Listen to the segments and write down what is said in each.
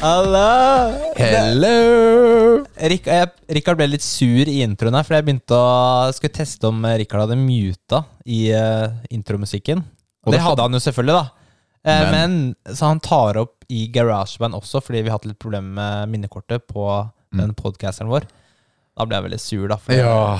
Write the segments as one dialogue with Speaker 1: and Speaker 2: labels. Speaker 1: Halla!
Speaker 2: Hello!
Speaker 1: Rik- jeg- Rikard ble litt sur i introen her, for jeg begynte å skulle teste om Rikard hadde muta i eh, intromusikken.
Speaker 2: Og
Speaker 1: Og det
Speaker 2: det-
Speaker 1: hadde han jo selvfølgelig, da. Eh,
Speaker 2: Men-
Speaker 1: men så han tar opp i GarageBand også, fordi vi har hatt litt problemer med minnekortet på den podcasteren vår. Da ble jeg veldig sur, da. For
Speaker 2: Mm. Ja,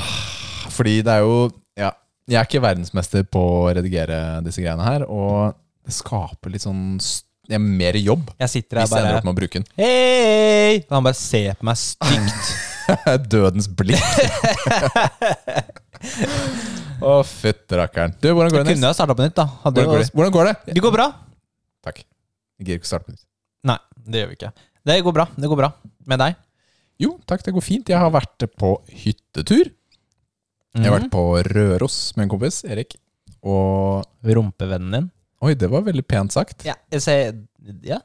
Speaker 2: fordi det er jo ja, Jeg er ikke verdensmester på å redigere disse greiene her, og det skaper litt sånn s- ja, mer jobb
Speaker 1: jeg sitter her
Speaker 2: hvis jeg ender
Speaker 1: bare
Speaker 2: opp med å bruke den.
Speaker 1: Hei! Og han bare ser på meg stygt.
Speaker 2: Dødens blikk. Å, fytterakkeren. Du, hvordan går det,
Speaker 1: Kunne
Speaker 2: Nils?
Speaker 1: jo starta på nytt, da. Hadde
Speaker 2: Hvordan går det?
Speaker 1: jo,
Speaker 2: Hvordan går det?
Speaker 1: det går bra.
Speaker 2: Takk. Jeg gidder ikke starte på nytt.
Speaker 1: Nei, det gjør vi ikke. Det går bra. Det går bra. Med deg?
Speaker 2: Jo, takk, det går fint. Jeg har vært på hyttetur. Jeg har vært på Røros med en kompis, Erik. Og
Speaker 1: Rumpevennen din?
Speaker 2: Oi, det var veldig pent sagt.
Speaker 1: Ja. Jeg ser, ja.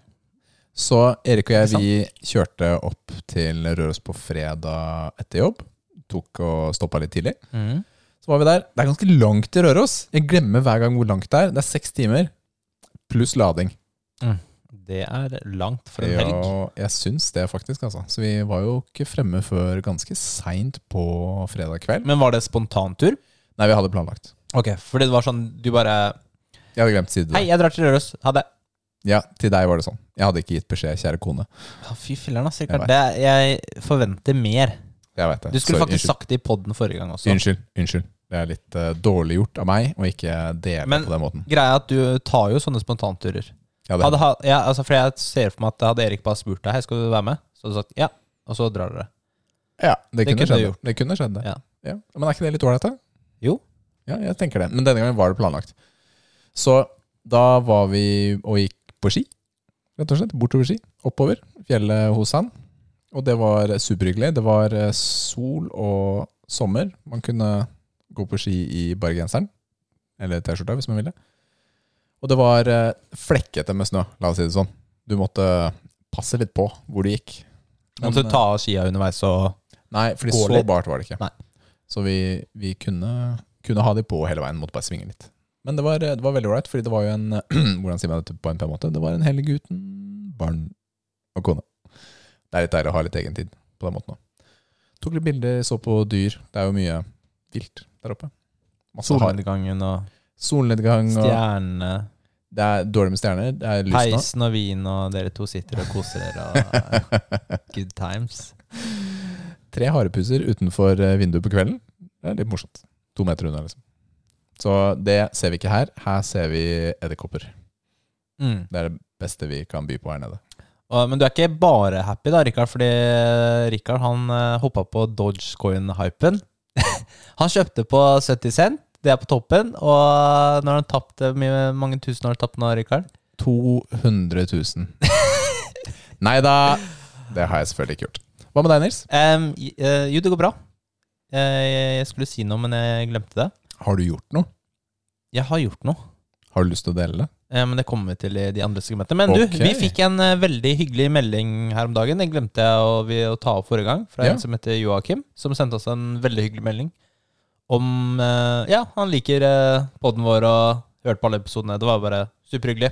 Speaker 2: Så Erik og jeg
Speaker 1: Ikke
Speaker 2: vi kjørte opp til Røros på fredag etter jobb. Tok og stoppa litt tidlig.
Speaker 1: Mm.
Speaker 2: Så var vi der. Det er ganske langt til Røros. Jeg glemmer hver gang hvor langt det er. Det er seks timer pluss lading.
Speaker 1: Det er langt for en helg.
Speaker 2: Ja, jeg syns det, faktisk. Altså. Så vi var jo ikke fremme før ganske seint på fredag kveld.
Speaker 1: Men var det spontantur?
Speaker 2: Nei, vi hadde planlagt.
Speaker 1: Ok, fordi det var sånn du bare
Speaker 2: Jeg hadde glemt å si det.
Speaker 1: Hei, jeg drar til Røros. Ha det.
Speaker 2: Ja, til deg var det sånn. Jeg hadde ikke gitt beskjed, kjære kone.
Speaker 1: Ja, Fy filler'n, ass.
Speaker 2: Jeg
Speaker 1: Rikard. Det er- Jeg forventer mer.
Speaker 2: Jeg vet det.
Speaker 1: Du skulle
Speaker 2: Sorry,
Speaker 1: faktisk
Speaker 2: unnskyld.
Speaker 1: sagt sånn. det i poden forrige gang også.
Speaker 2: Unnskyld. unnskyld. Det er litt eh, dårlig gjort av meg å ikke dele
Speaker 1: Men-
Speaker 2: på den måten.
Speaker 1: Greia er at du tar jo sånne spontanturer.
Speaker 2: Ja, det-
Speaker 1: Hadde, ha- ja, altså, for jeg ser for meg at hadde Erik bare spurt deg Hei, skal du være med, så hadde du sagt ja, og så drar dere.
Speaker 2: Ja, det,
Speaker 1: kunne
Speaker 2: kunne,
Speaker 1: du
Speaker 2: skjedd.
Speaker 1: gjort.
Speaker 2: Det. det kunne skjedd, det.
Speaker 1: Ja.
Speaker 2: Ja. Men er ikke det litt ålreit, da?
Speaker 1: Jo.
Speaker 2: Ja, jeg tenker det. Men denne gangen var det planlagt. Så da var vi og gikk på ski, rett og slett. Bortover ski. Oppover fjellet hos han. Og det var superhyggelig. Det var eh, sol og sommer. Man kunne gå på ski i bare genseren. Eller T-skjorta, hvis man ville. Og det var eh, flekkete med snø, la oss si det sånn. Du måtte passe litt på hvor du gikk. Men,
Speaker 1: Måtte
Speaker 2: eh,
Speaker 1: du ta av skia underveis og
Speaker 2: Nei, fordi
Speaker 1: Gå
Speaker 2: så
Speaker 1: litt.
Speaker 2: bart var det ikke.
Speaker 1: Nei.
Speaker 2: Så vi, vi kunne, kunne ha de på hele veien, måtte bare svinge litt. Men det var, det var veldig ålreit, fordi det var jo en Hvordan sier man dette på en pen måte? Det var en helg uten barn og kone. Det er litt deilig å ha litt egen tid på den måten òg. Tok litt bilder, så på dyr. Det er jo mye vilt der oppe. Masse har-
Speaker 1: solnedgangen og
Speaker 2: solnedgang og
Speaker 1: stjernene
Speaker 2: Det er dårlig med stjerner. Det er lyst nå.
Speaker 1: Peisen og vin, og dere to sitter og koser dere. Og good times.
Speaker 2: Tre harepuser utenfor eh, vinduet på kvelden. Det er litt morsomt. To meter unna, liksom. Så det ser vi ikke her. Her ser vi edderkopper.
Speaker 1: Mm.
Speaker 2: Det er det beste vi kan by på her nede.
Speaker 1: Og, men du er ikke bare happy, da, Rikard, fordi Rikard han eh, hoppa på Dogecoin-hypen. han kjøpte på 70 cent, det er på toppen. Og når han tapte hvor mye- mange tusen har du tapt nå, Rikard?
Speaker 2: 200 000. Nei da! Det har jeg selvfølgelig ikke gjort. Hva med deg, Nils?
Speaker 1: Em, i- eh, jo, det går bra. Eh, jeg skulle si noe, men jeg glemte det.
Speaker 2: Har du gjort noe?
Speaker 1: Jeg har gjort noe.
Speaker 2: Har du lyst til å dele det?
Speaker 1: Eh, Men det kommer vi til i de andre segmentene. Men
Speaker 2: Ok.
Speaker 1: du, vi fikk en eh, veldig hyggelig melding her om dagen. Den glemte jeg å, vi, å ta opp forrige gang, fra
Speaker 2: Ja.
Speaker 1: en som heter Joakim. Som sendte oss en veldig hyggelig melding om eh, Ja, han liker uh, poden vår og hørte på alle episodene. Det var bare superhyggelig.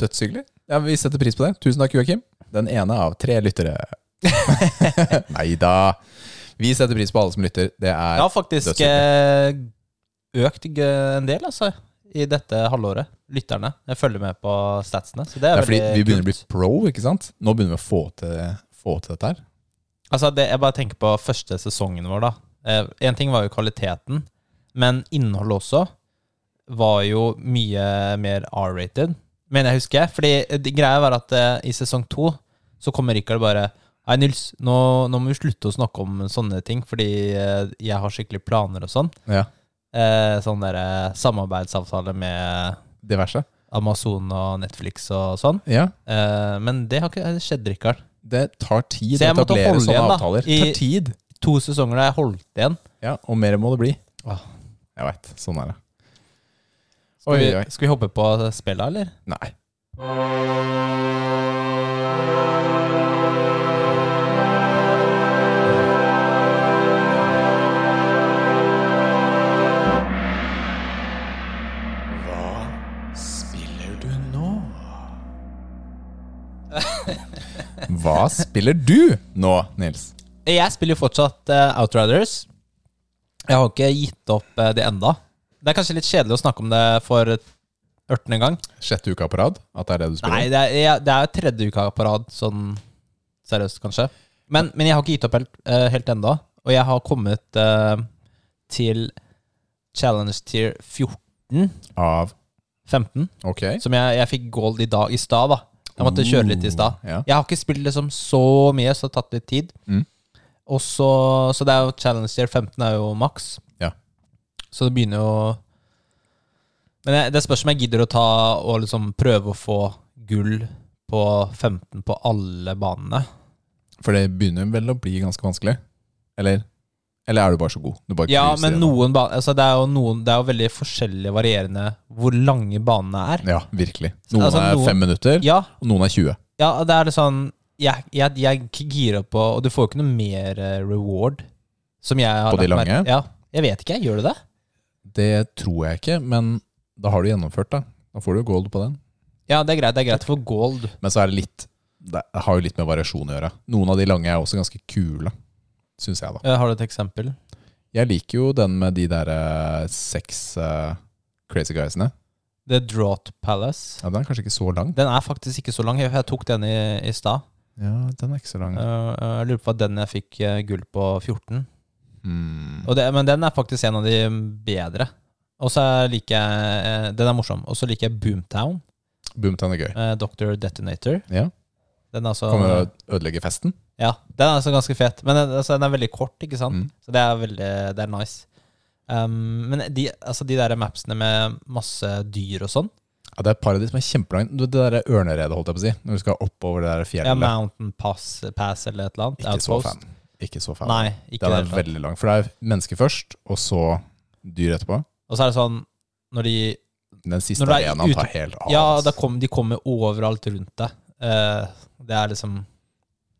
Speaker 2: Dødshyggelig. Ja, vi setter pris på det. Tusen takk, Joakim. Den ene av tre lyttere. Nei da. Vi setter pris på alle som lytter. Det
Speaker 1: Jeg
Speaker 2: er
Speaker 1: har faktisk eh, økt g- en del, altså, i dette halvåret. Lytterne. Jeg følger med på statsene. Så det
Speaker 2: Det
Speaker 1: er,
Speaker 2: er fordi
Speaker 1: veldig
Speaker 2: vi begynner å bli
Speaker 1: kult.
Speaker 2: pro, ikke sant? Nå begynner vi å få til, få til dette her.
Speaker 1: Altså, det, jeg bare tenker på første sesongen vår, da. Eh, en ting var jo kvaliteten, men innholdet også var jo mye mer R-rated, mener jeg husker. Fordi det greia var at eh, i sesong to så kommer Rikard bare Hei, Nils, nå, nå må vi slutte å snakke om sånne ting, fordi eh, jeg har skikkelig planer og sånn.
Speaker 2: Ja.
Speaker 1: Eh, sånn derre samarbeidsavtale med
Speaker 2: Diverse.
Speaker 1: Amazon og Netflix og sånn.
Speaker 2: Ja.
Speaker 1: Eh, men det har ikke det skjedd, Rikard.
Speaker 2: Det tar tid
Speaker 1: Så
Speaker 2: å
Speaker 1: jeg måtte
Speaker 2: etablere
Speaker 1: holde
Speaker 2: sånne
Speaker 1: igjen, da,
Speaker 2: avtaler.
Speaker 1: i-
Speaker 2: Det tar tid.
Speaker 1: To sesonger der jeg holdt igjen.
Speaker 2: Ja, og mer må det bli.
Speaker 1: Åh.
Speaker 2: Jeg veit. Sånn er det.
Speaker 1: Skal,
Speaker 2: Oi,
Speaker 1: vi,
Speaker 2: oi.
Speaker 1: skal vi hoppe på spillet, eller?
Speaker 2: Nei. Hva spiller du nå? Hva hva spiller du nå, Nils?
Speaker 1: Jeg spiller jo fortsatt eh, Outriders. Jeg har ikke gitt opp eh, det enda. Det er kanskje litt kjedelig å snakke om det for ørtende gang.
Speaker 2: Sjette uka på rad? At det er det du spiller?
Speaker 1: Nei, det er, jeg, det er tredje uka på rad, sånn seriøst, kanskje. Men, men jeg har ikke gitt opp helt, eh, helt enda. Og jeg har kommet eh, til challenge tier 14,
Speaker 2: Av
Speaker 1: 15,
Speaker 2: Ok.
Speaker 1: som jeg, jeg fikk gold i dag, i stad, da. Jeg måtte kjøre litt i stad.
Speaker 2: Ja.
Speaker 1: Jeg har ikke spilt liksom så mye, så det har tatt litt tid.
Speaker 2: Mm.
Speaker 1: Og så, så det er jo challenge tier 15 er jo maks.
Speaker 2: Ja.
Speaker 1: Så det begynner jo Men jeg, det spørs om jeg gidder å ta og liksom prøve å få gull på 15 på alle banene.
Speaker 2: For det begynner vel å bli ganske vanskelig? Eller? Eller er du bare så god? Du bare
Speaker 1: Ja,
Speaker 2: cruiser
Speaker 1: men
Speaker 2: gjennom.
Speaker 1: noen baner altså det, er jo noen, det er jo veldig forskjellig varierende hvor lange banene er.
Speaker 2: Ja, virkelig. Noen
Speaker 1: Altså,
Speaker 2: er
Speaker 1: noen-
Speaker 2: fem minutter,
Speaker 1: Ja,
Speaker 2: og noen er 20.
Speaker 1: ja det er litt sånn Jeg, jeg, jeg girer på Og du får jo ikke noe mer eh, reward. Som jeg har
Speaker 2: På de
Speaker 1: lagt merke-
Speaker 2: lange?
Speaker 1: Ja. Jeg vet ikke, gjør du det?
Speaker 2: Det tror jeg ikke, men da har du gjennomført, da. Da får du jo gold på den.
Speaker 1: Ja, det er greit. Det er greit for gold.
Speaker 2: Men så er det litt Det har jo litt med variasjon å gjøre. Noen av de lange er også ganske kule, syns jeg, da.
Speaker 1: Eh, Har du et eksempel?
Speaker 2: Jeg liker jo den med de der eh, seks eh, crazy guysene.
Speaker 1: The Draught Palace.
Speaker 2: Ja, den er kanskje ikke så lang.
Speaker 1: Den er faktisk ikke så lang. Jeg- Jeg tok den i, i stad.
Speaker 2: Ja, den er ikke så lang.
Speaker 1: Eh, eh, jeg lurer på hva den jeg fikk eh, gull på 14.
Speaker 2: Mm.
Speaker 1: Og det, men den er faktisk en av de bedre. Og så liker jeg eh, Den er morsom. Og så liker jeg Boomtown.
Speaker 2: Boomtown er gøy.
Speaker 1: eh, Dr. Detonator.
Speaker 2: Ja.
Speaker 1: Den er altså
Speaker 2: Kommer å ødelegge festen.
Speaker 1: Ja, den er altså ganske fet. Men den, altså, den er veldig kort, ikke sant?
Speaker 2: Mm.
Speaker 1: Så det er veldig Det er nice. Um, men de, altså, de der mapsene med masse dyr og sånn
Speaker 2: Ja, det er et par av de som er kjempelange. Du, Det der ørneredet, holdt jeg på å si. Når du skal oppover det der fjellet.
Speaker 1: ja, Mountain Pass, Pass eller et eller annet.
Speaker 2: ikke så
Speaker 1: Outpost.
Speaker 2: fan. Ikke så fan.
Speaker 1: Nei, ikke det.
Speaker 2: den er
Speaker 1: hele tatt.
Speaker 2: veldig lang. For det er mennesker først, og så dyr etterpå.
Speaker 1: Og så er det sånn når de
Speaker 2: Den siste
Speaker 1: Når det er
Speaker 2: arenaen
Speaker 1: ute-
Speaker 2: tar helt av.
Speaker 1: Ja,
Speaker 2: ass.
Speaker 1: da kom, de kommer overalt rundt deg. Eh, det er liksom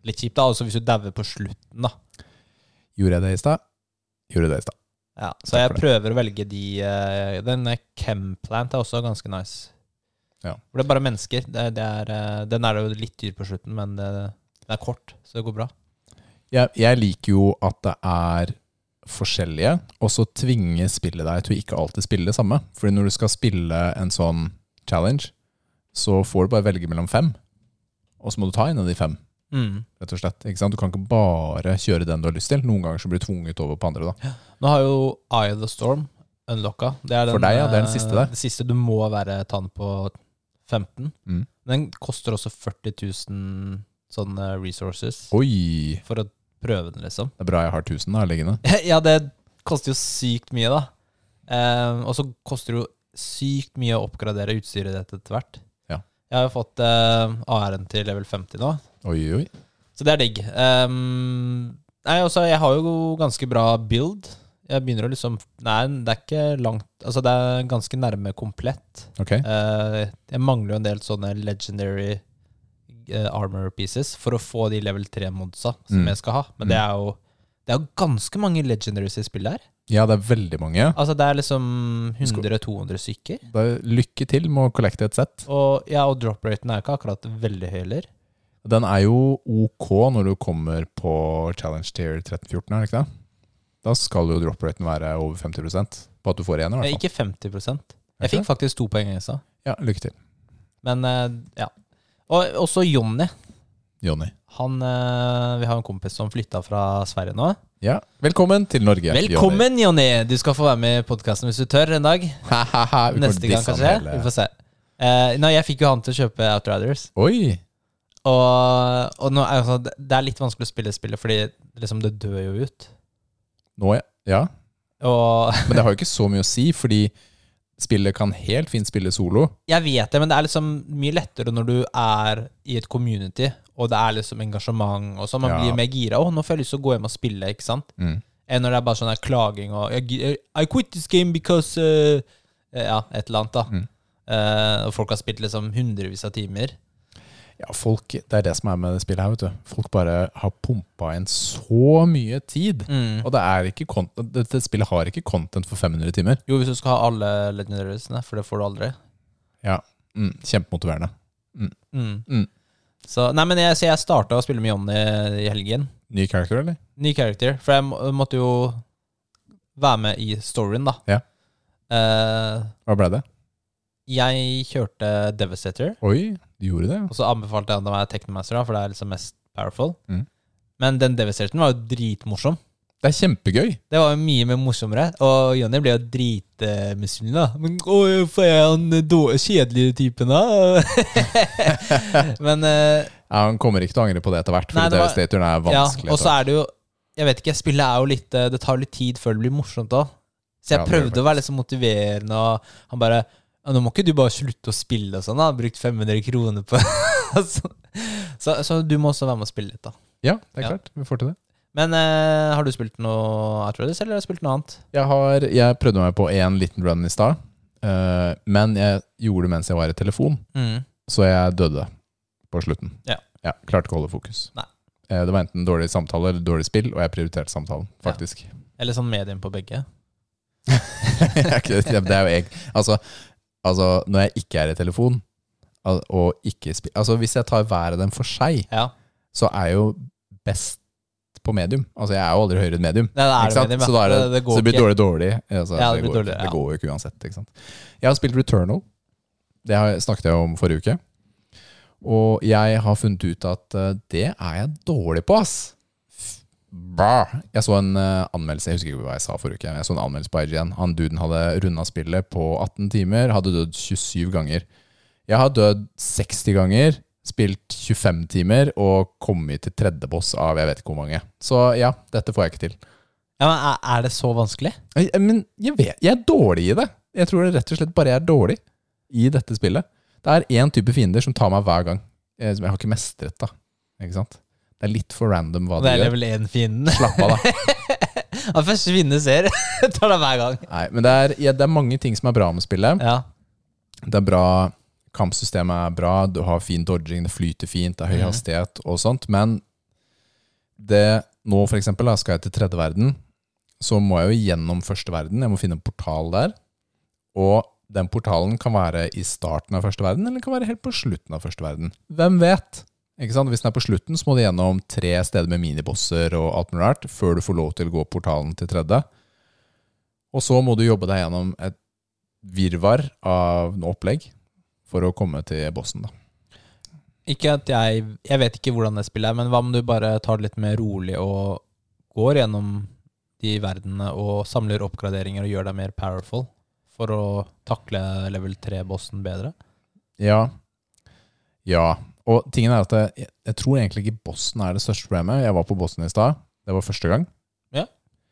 Speaker 1: litt kjipt, da. Også hvis du dauer på slutten, da.
Speaker 2: Gjorde jeg det i stad? Gjorde jeg det i stad.
Speaker 1: Ja, så
Speaker 2: Takk
Speaker 1: jeg
Speaker 2: for det.
Speaker 1: prøver å velge de eh, Denne Chemplant er også ganske nice.
Speaker 2: Ja.
Speaker 1: For det er bare mennesker. Det, det er, eh, den er det jo litt dyr på slutten, men det, den er kort, så det går bra.
Speaker 2: Jeg, jeg liker jo at det er forskjellige, og så tvinger spillet deg til å ikke alltid spille det samme. Fordi når du skal spille en sånn challenge, så får du bare velge mellom fem. Og så må du ta en av de fem,
Speaker 1: Mm.
Speaker 2: rett og slett. Ikke sant? Du kan ikke bare kjøre den du har lyst til. Noen ganger så blir du tvunget over på andre, da.
Speaker 1: Nå har jo Eye of the Storm unlocka. Det er den,
Speaker 2: For deg, ja, det er den
Speaker 1: eh,
Speaker 2: siste der.
Speaker 1: Det siste du må være tann på 15.
Speaker 2: Mm.
Speaker 1: Den koster også 40 000 sånne resources
Speaker 2: Oi!
Speaker 1: for å prøve den, liksom.
Speaker 2: Det er bra jeg har 1000 her liggende.
Speaker 1: ja, det koster jo sykt mye, da. Eh, og så koster det jo sykt mye å oppgradere utstyret ditt etter hvert.
Speaker 2: Ja.
Speaker 1: Jeg har jo fått eh, AR-en til level 50 nå,
Speaker 2: Oi, oi.
Speaker 1: så det er digg. Ehm, nei, også, jeg har jo ganske bra build. Jeg begynner å liksom Nei, det er ikke langt Altså, det er ganske nærme komplett.
Speaker 2: Ok.
Speaker 1: Eh, jeg mangler jo en del sånne legendary eh, armor pieces for å få de level 3-modsa som
Speaker 2: Mm.
Speaker 1: jeg skal ha. Men det er jo Det er jo ganske mange legendaries i spillet her.
Speaker 2: Ja, det er veldig mange.
Speaker 1: Altså Det er liksom 100-200 stykker.
Speaker 2: Da, lykke til med å collecte et sett.
Speaker 1: Og, ja, og drop-raten er ikke akkurat veldig høy heller.
Speaker 2: Den er jo ok når du kommer på challenge tier 13-14, er det ikke det? Da skal jo drop-raten være over 50 på at du får igjen i
Speaker 1: Eh,
Speaker 2: hvert fall.
Speaker 1: Ikke 50 Jeg
Speaker 2: Ikke
Speaker 1: fikk faktisk to poeng i stad.
Speaker 2: Ja, lykke til,
Speaker 1: Men eh, ja. Og også Jonny.
Speaker 2: Jonny.
Speaker 1: Han, eh, vi har en kompis som flytta fra Sverige nå.
Speaker 2: Ja, velkommen til Norge.
Speaker 1: Velkommen, Jonny! Du skal få være med i podkasten hvis du tør en dag.
Speaker 2: Jonny.
Speaker 1: Neste gang, kanskje. Vi får se. Eh, nei, jeg fikk jo han til å kjøpe Outriders.
Speaker 2: Oi!
Speaker 1: Og, og nå, er jo sånn- det er litt vanskelig å spille spillet, fordi liksom, det dør jo ut.
Speaker 2: Nå, ja. ja.
Speaker 1: Og
Speaker 2: Men det har jo ikke så mye å si, fordi spillet kan helt fint spille solo.
Speaker 1: jeg vet det, men det er liksom mye lettere når du er i et community, og det er liksom engasjement og sånn. Man
Speaker 2: Ja.
Speaker 1: blir mer gira. Å, nå får jeg lyst til å gå hjem og spille, ikke sant?
Speaker 2: Mm.
Speaker 1: Enn når det er bare sånn her klaging og «Jeg gi- I quit this game because eh, eh, Ja, et eller annet, da.
Speaker 2: Mm.
Speaker 1: Eh, og folk har spilt liksom hundrevis av timer.
Speaker 2: Ja, folk, Det er det som er med det spillet her. vet du. Folk bare har pumpa inn så mye tid. Og det er ikke content, dette spillet har ikke content for 500 timer.
Speaker 1: Jo, hvis du skal ha alle legendariesene, for det får du aldri.
Speaker 2: Ja, mm, Kjempemotiverende.
Speaker 1: Mm.
Speaker 2: Mm.
Speaker 1: Så, nei, men jeg, så jeg starta å spille med Johnny i helgen.
Speaker 2: Ny character, eller?
Speaker 1: Ny character. For jeg må- måtte jo være med i storyen, da.
Speaker 2: Ja.
Speaker 1: Eh,
Speaker 2: Hva ble det?
Speaker 1: jeg kjørte Devastator,
Speaker 2: Oi, du gjorde det? ja.
Speaker 1: og så anbefalte jeg den å være Technomaster, da, for det er liksom mest powerful.
Speaker 2: Mm.
Speaker 1: Men den Devastatoren var jo dritmorsom.
Speaker 2: Det er kjempegøy.
Speaker 1: Det var jo mye mer morsommere, og Johnny ble jo dritmisunnelig, da. Men å, får jeg han dår- kjedelige typen, da? Men eh,
Speaker 2: Ja, Han kommer ikke til å angre på det etter hvert, for
Speaker 1: Nei, det var-
Speaker 2: Devastatoren er
Speaker 1: ja,
Speaker 2: vanskelig.
Speaker 1: og
Speaker 2: etter
Speaker 1: så er det jo Jeg vet ikke, spillet er jo litt eh, Det tar litt tid før det blir morsomt òg. Så jeg
Speaker 2: Ja, det gjør det
Speaker 1: prøvde å være litt så motiverende, og han bare «Ja, Nå må ikke du bare slutte å spille og sånn, da. Brukt 500 kroner på så, så, så du må også være med og spille litt, da.
Speaker 2: hvert. Ja, det er
Speaker 1: Ja.
Speaker 2: klart. Vi får til det.
Speaker 1: Men eh, har du spilt noe Atrodis, eller har du spilt noe annet?
Speaker 2: Jeg, har, jeg prøvde meg på én liten run i stad, eh, men jeg gjorde det mens jeg var i telefon,
Speaker 1: Mm.
Speaker 2: så jeg døde på slutten.
Speaker 1: Ja.
Speaker 2: Klarte ikke å holde fokus.
Speaker 1: Nei.
Speaker 2: Eh, Det var enten dårlig samtale eller dårlig spill, og jeg prioriterte samtalen,
Speaker 1: Ja.
Speaker 2: faktisk.
Speaker 1: Eller sånn medium på begge?
Speaker 2: Jeg er ikke- det er jo jeg. Altså, altså, når jeg ikke er i telefon, al- og ikke spiller Altså, hvis jeg tar hver av dem for seg,
Speaker 1: Ja.
Speaker 2: så er jeg jo best på medium. Altså, jeg er jo aldri høyere enn medium.
Speaker 1: Nei, det er
Speaker 2: Ikke sant?
Speaker 1: medium, ja.
Speaker 2: Så, da er det,
Speaker 1: det går
Speaker 2: så det blir
Speaker 1: ikke.
Speaker 2: dårlig dårlig. Altså,
Speaker 1: Ja, det
Speaker 2: det,
Speaker 1: blir
Speaker 2: går,
Speaker 1: dårlig,
Speaker 2: det
Speaker 1: ja.
Speaker 2: går jo ikke uansett. Ikke sant? Jeg har spilt Returnal. Det har, snakket jeg om forrige uke. Og jeg har funnet ut at eh, det er jeg dårlig på, ass. Bah. Jeg så en eh, anmeldelse Jeg husker ikke hva jeg sa forrige uke. Jeg så en anmeldelse på IGN. Han duden hadde runda spillet på 18 timer. Hadde dødd 27 ganger. Jeg har dødd 60 ganger. Spilt 25 timer og kommet til tredje boss av jeg vet ikke hvor mange. Så ja, dette får jeg ikke til.
Speaker 1: Ja, men er, er det så vanskelig?
Speaker 2: Nei, eh, Men jeg vet, jeg er dårlig i det. Jeg tror det rett og slett bare jeg er dårlig i dette spillet. Det er én type fiender som tar meg hver gang. eh, Som jeg har ikke mestret, da. Ikke sant? Det er litt for random hva
Speaker 1: det
Speaker 2: de
Speaker 1: er
Speaker 2: gjør.
Speaker 1: level 1-fienden.
Speaker 2: Slapp av, da.
Speaker 1: Han første fienden ser, tar det hver gang.
Speaker 2: Nei, men det er, ja, det er mange ting som er bra med spillet.
Speaker 1: Ja.
Speaker 2: Det er bra Kampsystemet er bra, du har fin dodging, det flyter fint, det er høy
Speaker 1: Mhm.
Speaker 2: hastighet og sånt, men det Nå, for eksempel, da, skal jeg til tredje verden, så må jeg jo gjennom første verden. Jeg må finne en portal der. Og den portalen kan være i starten av første verden, eller den kan være helt på slutten av første verden. Hvem vet? Ikke sant? Hvis den er på slutten, så må du gjennom tre steder med minibosser og alt mulig rart før du får lov til å gå portalen til tredje. Og så må du jobbe deg gjennom et virvar av noe opplegg for å komme til bossen. Da.
Speaker 1: Ikke at jeg Jeg vet ikke hvordan det spillet er, men hva om du bare tar det litt mer rolig og går gjennom de verdenene og samler oppgraderinger og gjør deg mer powerful for å takle level 3-bossen bedre?
Speaker 2: Ja. ja. Og tingen er at jeg, jeg tror egentlig ikke bossen er det største problemet. Jeg var på bossen i stad. Det var første gang.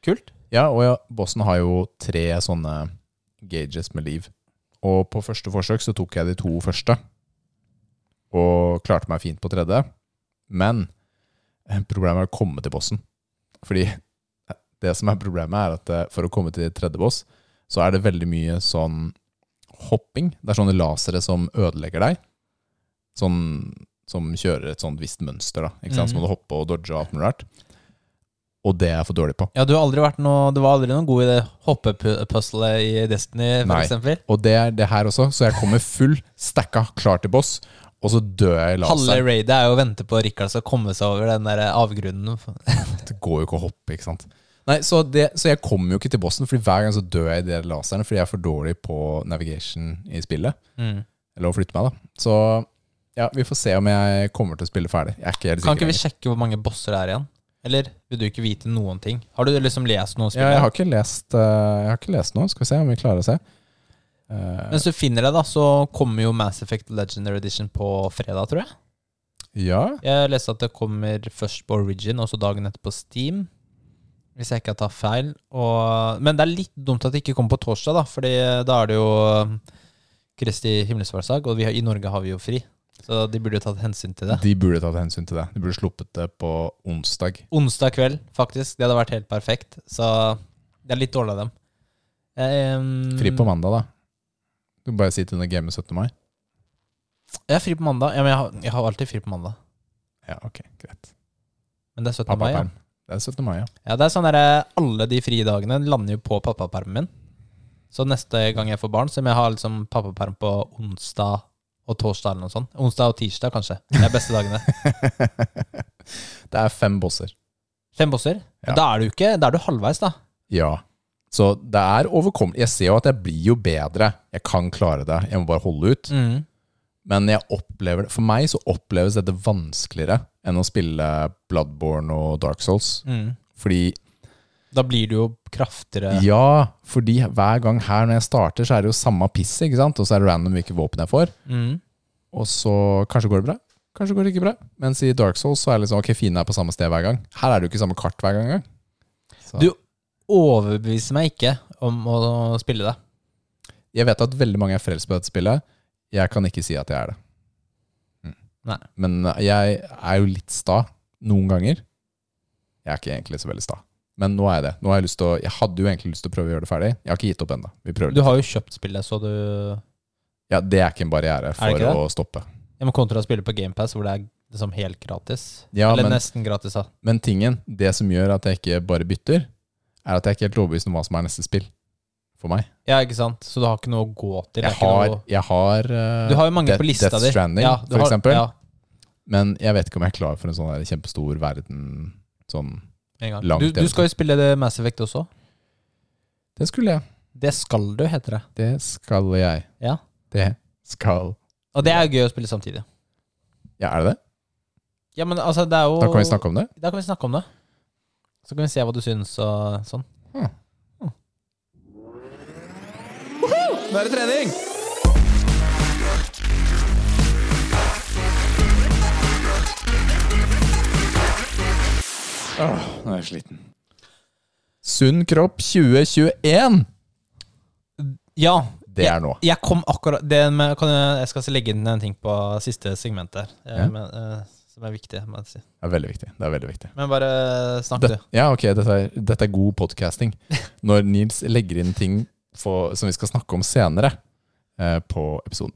Speaker 1: Kult.
Speaker 2: Ja, og ja, bossen har jo tre sånne gauges med liv. Og på første forsøk så tok jeg de to første. Og klarte meg fint på tredje. Men eh, problemet er å komme til bossen. Fordi eh, det som er problemet, er at eh, for å komme til tredje boss, så er det veldig mye sånn hopping. Det er sånne lasere som ødelegger deg. Sånn, som kjører et sånt visst mønster, da. Ikke sant? Så må
Speaker 1: Mhm.
Speaker 2: du hoppe og dodge og alt mulig rart. Og det er jeg for dårlig på.
Speaker 1: Ja, du har aldri vært noe Du var aldri noen god i det hoppepuzzlet i Destiny, for
Speaker 2: Nei.
Speaker 1: eksempel?
Speaker 2: Og det er det her også, så jeg kommer full, stacka, klar til boss, og så dør jeg i
Speaker 1: Halve
Speaker 2: laser.
Speaker 1: raidet er jo å vente på Rikard skal komme seg over den der avgrunnen.
Speaker 2: Det går jo ikke å hoppe, ikke sant. Nei, så, det, så jeg kommer jo ikke til bossen, Fordi hver gang så dør jeg i de laserne fordi jeg er for dårlig på navigation i spillet.
Speaker 1: Mm.
Speaker 2: Eller å flytte meg, da. Så ja, vi får se om jeg kommer til å spille ferdig. Jeg er ikke helt
Speaker 1: Kan ikke
Speaker 2: sikker.
Speaker 1: vi
Speaker 2: lenger.
Speaker 1: sjekke hvor mange bosser det er igjen? Eller vil du ikke vite noen ting? Har du liksom lest noe om
Speaker 2: Ja,
Speaker 1: spillet?
Speaker 2: jeg har ikke lest eh, Jeg har ikke lest nå. Skal vi se om vi klarer å se. Eh,
Speaker 1: Mens du finner det, da, så kommer jo Mass Effect Legendary Edition på fredag, tror jeg.
Speaker 2: Eh, ja.
Speaker 1: Jeg leste at det kommer først på Origin, og så dagen etter på Steam. Hvis jeg ikke tar feil. Og, men det er litt dumt at det ikke kommer på torsdag, da, Fordi da er det jo eh, Kristi himmelsfartsdag, og vi har, i Norge har vi jo fri. Så de burde jo tatt hensyn til det.
Speaker 2: De burde tatt hensyn til det. De burde sluppet det på onsdag.
Speaker 1: Onsdag kveld, faktisk. Det hadde vært helt perfekt. Så det er litt dårlig av dem. Jeg, eh,
Speaker 2: Fri på mandag, da. Du kan bare sitte under gamet 17. mai.
Speaker 1: Jeg er fri på mandag. Ja, men jeg har, jeg har alltid fri på mandag.
Speaker 2: Ja, ok, greit.
Speaker 1: Men det er 17. mai. Ja.
Speaker 2: Pappaperm. Det er 17. mai, ja.
Speaker 1: Ja, det er sånn der, Alle de frie dagene lander jo på pappapermen min. Så neste gang jeg får barn, så må jeg ha liksom pappaperm på onsdag og og torsdag eller noe sånt. Onsdag og tirsdag, kanskje. Det er beste dagene.
Speaker 2: Det er fem bosser.
Speaker 1: Fem bosser.
Speaker 2: Ja.
Speaker 1: Da er du ikke Da er du halvveis, da.
Speaker 2: Ja. Så det er overkommelig. Jeg ser jo at jeg blir jo bedre. Jeg kan klare det. Jeg må bare holde ut.
Speaker 1: Mm.
Speaker 2: Men jeg opplever det, for meg så oppleves dette vanskeligere enn å spille Bloodborne og Dark Souls.
Speaker 1: Mm.
Speaker 2: Fordi,
Speaker 1: Da blir du jo kraftigere.
Speaker 2: ja, fordi hver gang her når jeg starter, så er det jo samme piss, ikke sant? Og så er det random hvilke våpen jeg får.
Speaker 1: Mm.
Speaker 2: Og så kanskje går det bra, kanskje går det ikke bra. Mens i Dark Souls så er det liksom, ok, fienden er på samme sted hver gang. Her er det jo ikke samme kart hver gang. engang. Så-
Speaker 1: Du overbeviser meg ikke om å spille det.
Speaker 2: Jeg vet at veldig mange er frelst på dette spillet. Jeg kan ikke si at jeg er det. Mm.
Speaker 1: Nei.
Speaker 2: Men eh, jeg er jo litt sta noen ganger. Jeg er ikke egentlig så veldig sta. Men nå er jeg det. Nå har jeg, lyst til å, jeg hadde jo egentlig lyst til å prøve å gjøre det ferdig. Jeg har ikke gitt opp ennå. Vi prøver
Speaker 1: Du
Speaker 2: litt.
Speaker 1: har jo kjøpt spillet, så du Jeg
Speaker 2: Ja, det er ikke en barriere for
Speaker 1: ikke det?
Speaker 2: å stoppe.
Speaker 1: må kontra å spille på GamePass, hvor det er liksom helt gratis.
Speaker 2: Ja,
Speaker 1: eller
Speaker 2: men,
Speaker 1: nesten gratis, da.
Speaker 2: men tingen, det som gjør at jeg ikke bare bytter, er at jeg er ikke helt overbevist om hva som er neste spill for meg.
Speaker 1: Ja, ikke sant? Så du har ikke noe å gå til. det er
Speaker 2: Jeg
Speaker 1: ikke
Speaker 2: har,
Speaker 1: noe...
Speaker 2: jeg har eh,
Speaker 1: Du har jo mange
Speaker 2: Death-
Speaker 1: på lista
Speaker 2: Death
Speaker 1: di.
Speaker 2: Stranding,
Speaker 1: Ja, du
Speaker 2: for
Speaker 1: har-
Speaker 2: eksempel.
Speaker 1: Ja,
Speaker 2: men jeg vet ikke om jeg er klar for en sånn der kjempestor verden. Sånn.
Speaker 1: med en gang.
Speaker 2: Langt
Speaker 1: Du, du
Speaker 2: eventuelt.
Speaker 1: skal jo spille det Mass Effect også.
Speaker 2: Det skulle jeg.
Speaker 1: Det skal du, heter det.
Speaker 2: Det skal jeg.
Speaker 1: Ja.
Speaker 2: Det skal
Speaker 1: Og det er gøy å spille samtidig.
Speaker 2: Ja, er det det?
Speaker 1: Ja, men altså, det er jo
Speaker 2: Da kan vi snakke om det.
Speaker 1: Da kan vi snakke om det. Så kan vi se hva du syns og sånn.
Speaker 2: Hmm.
Speaker 1: Hmm.
Speaker 2: Nå er det trening! Åh, nå er jeg sliten. Sunn kropp 2021!
Speaker 1: Ja,
Speaker 2: Det er nå.
Speaker 1: jeg kom akkurat det med, kan jeg, jeg skal legge inn en ting på siste segment der, eh,
Speaker 2: Ja.
Speaker 1: men, eh, som er viktig. må jeg si.
Speaker 2: Det er veldig viktig. Det er veldig viktig.
Speaker 1: Men bare eh, snakk,
Speaker 2: Det,
Speaker 1: du.
Speaker 2: ja, ok, dette er, dette er god podcasting. Når Nils legger inn ting for, som vi skal snakke om senere eh, på episoden.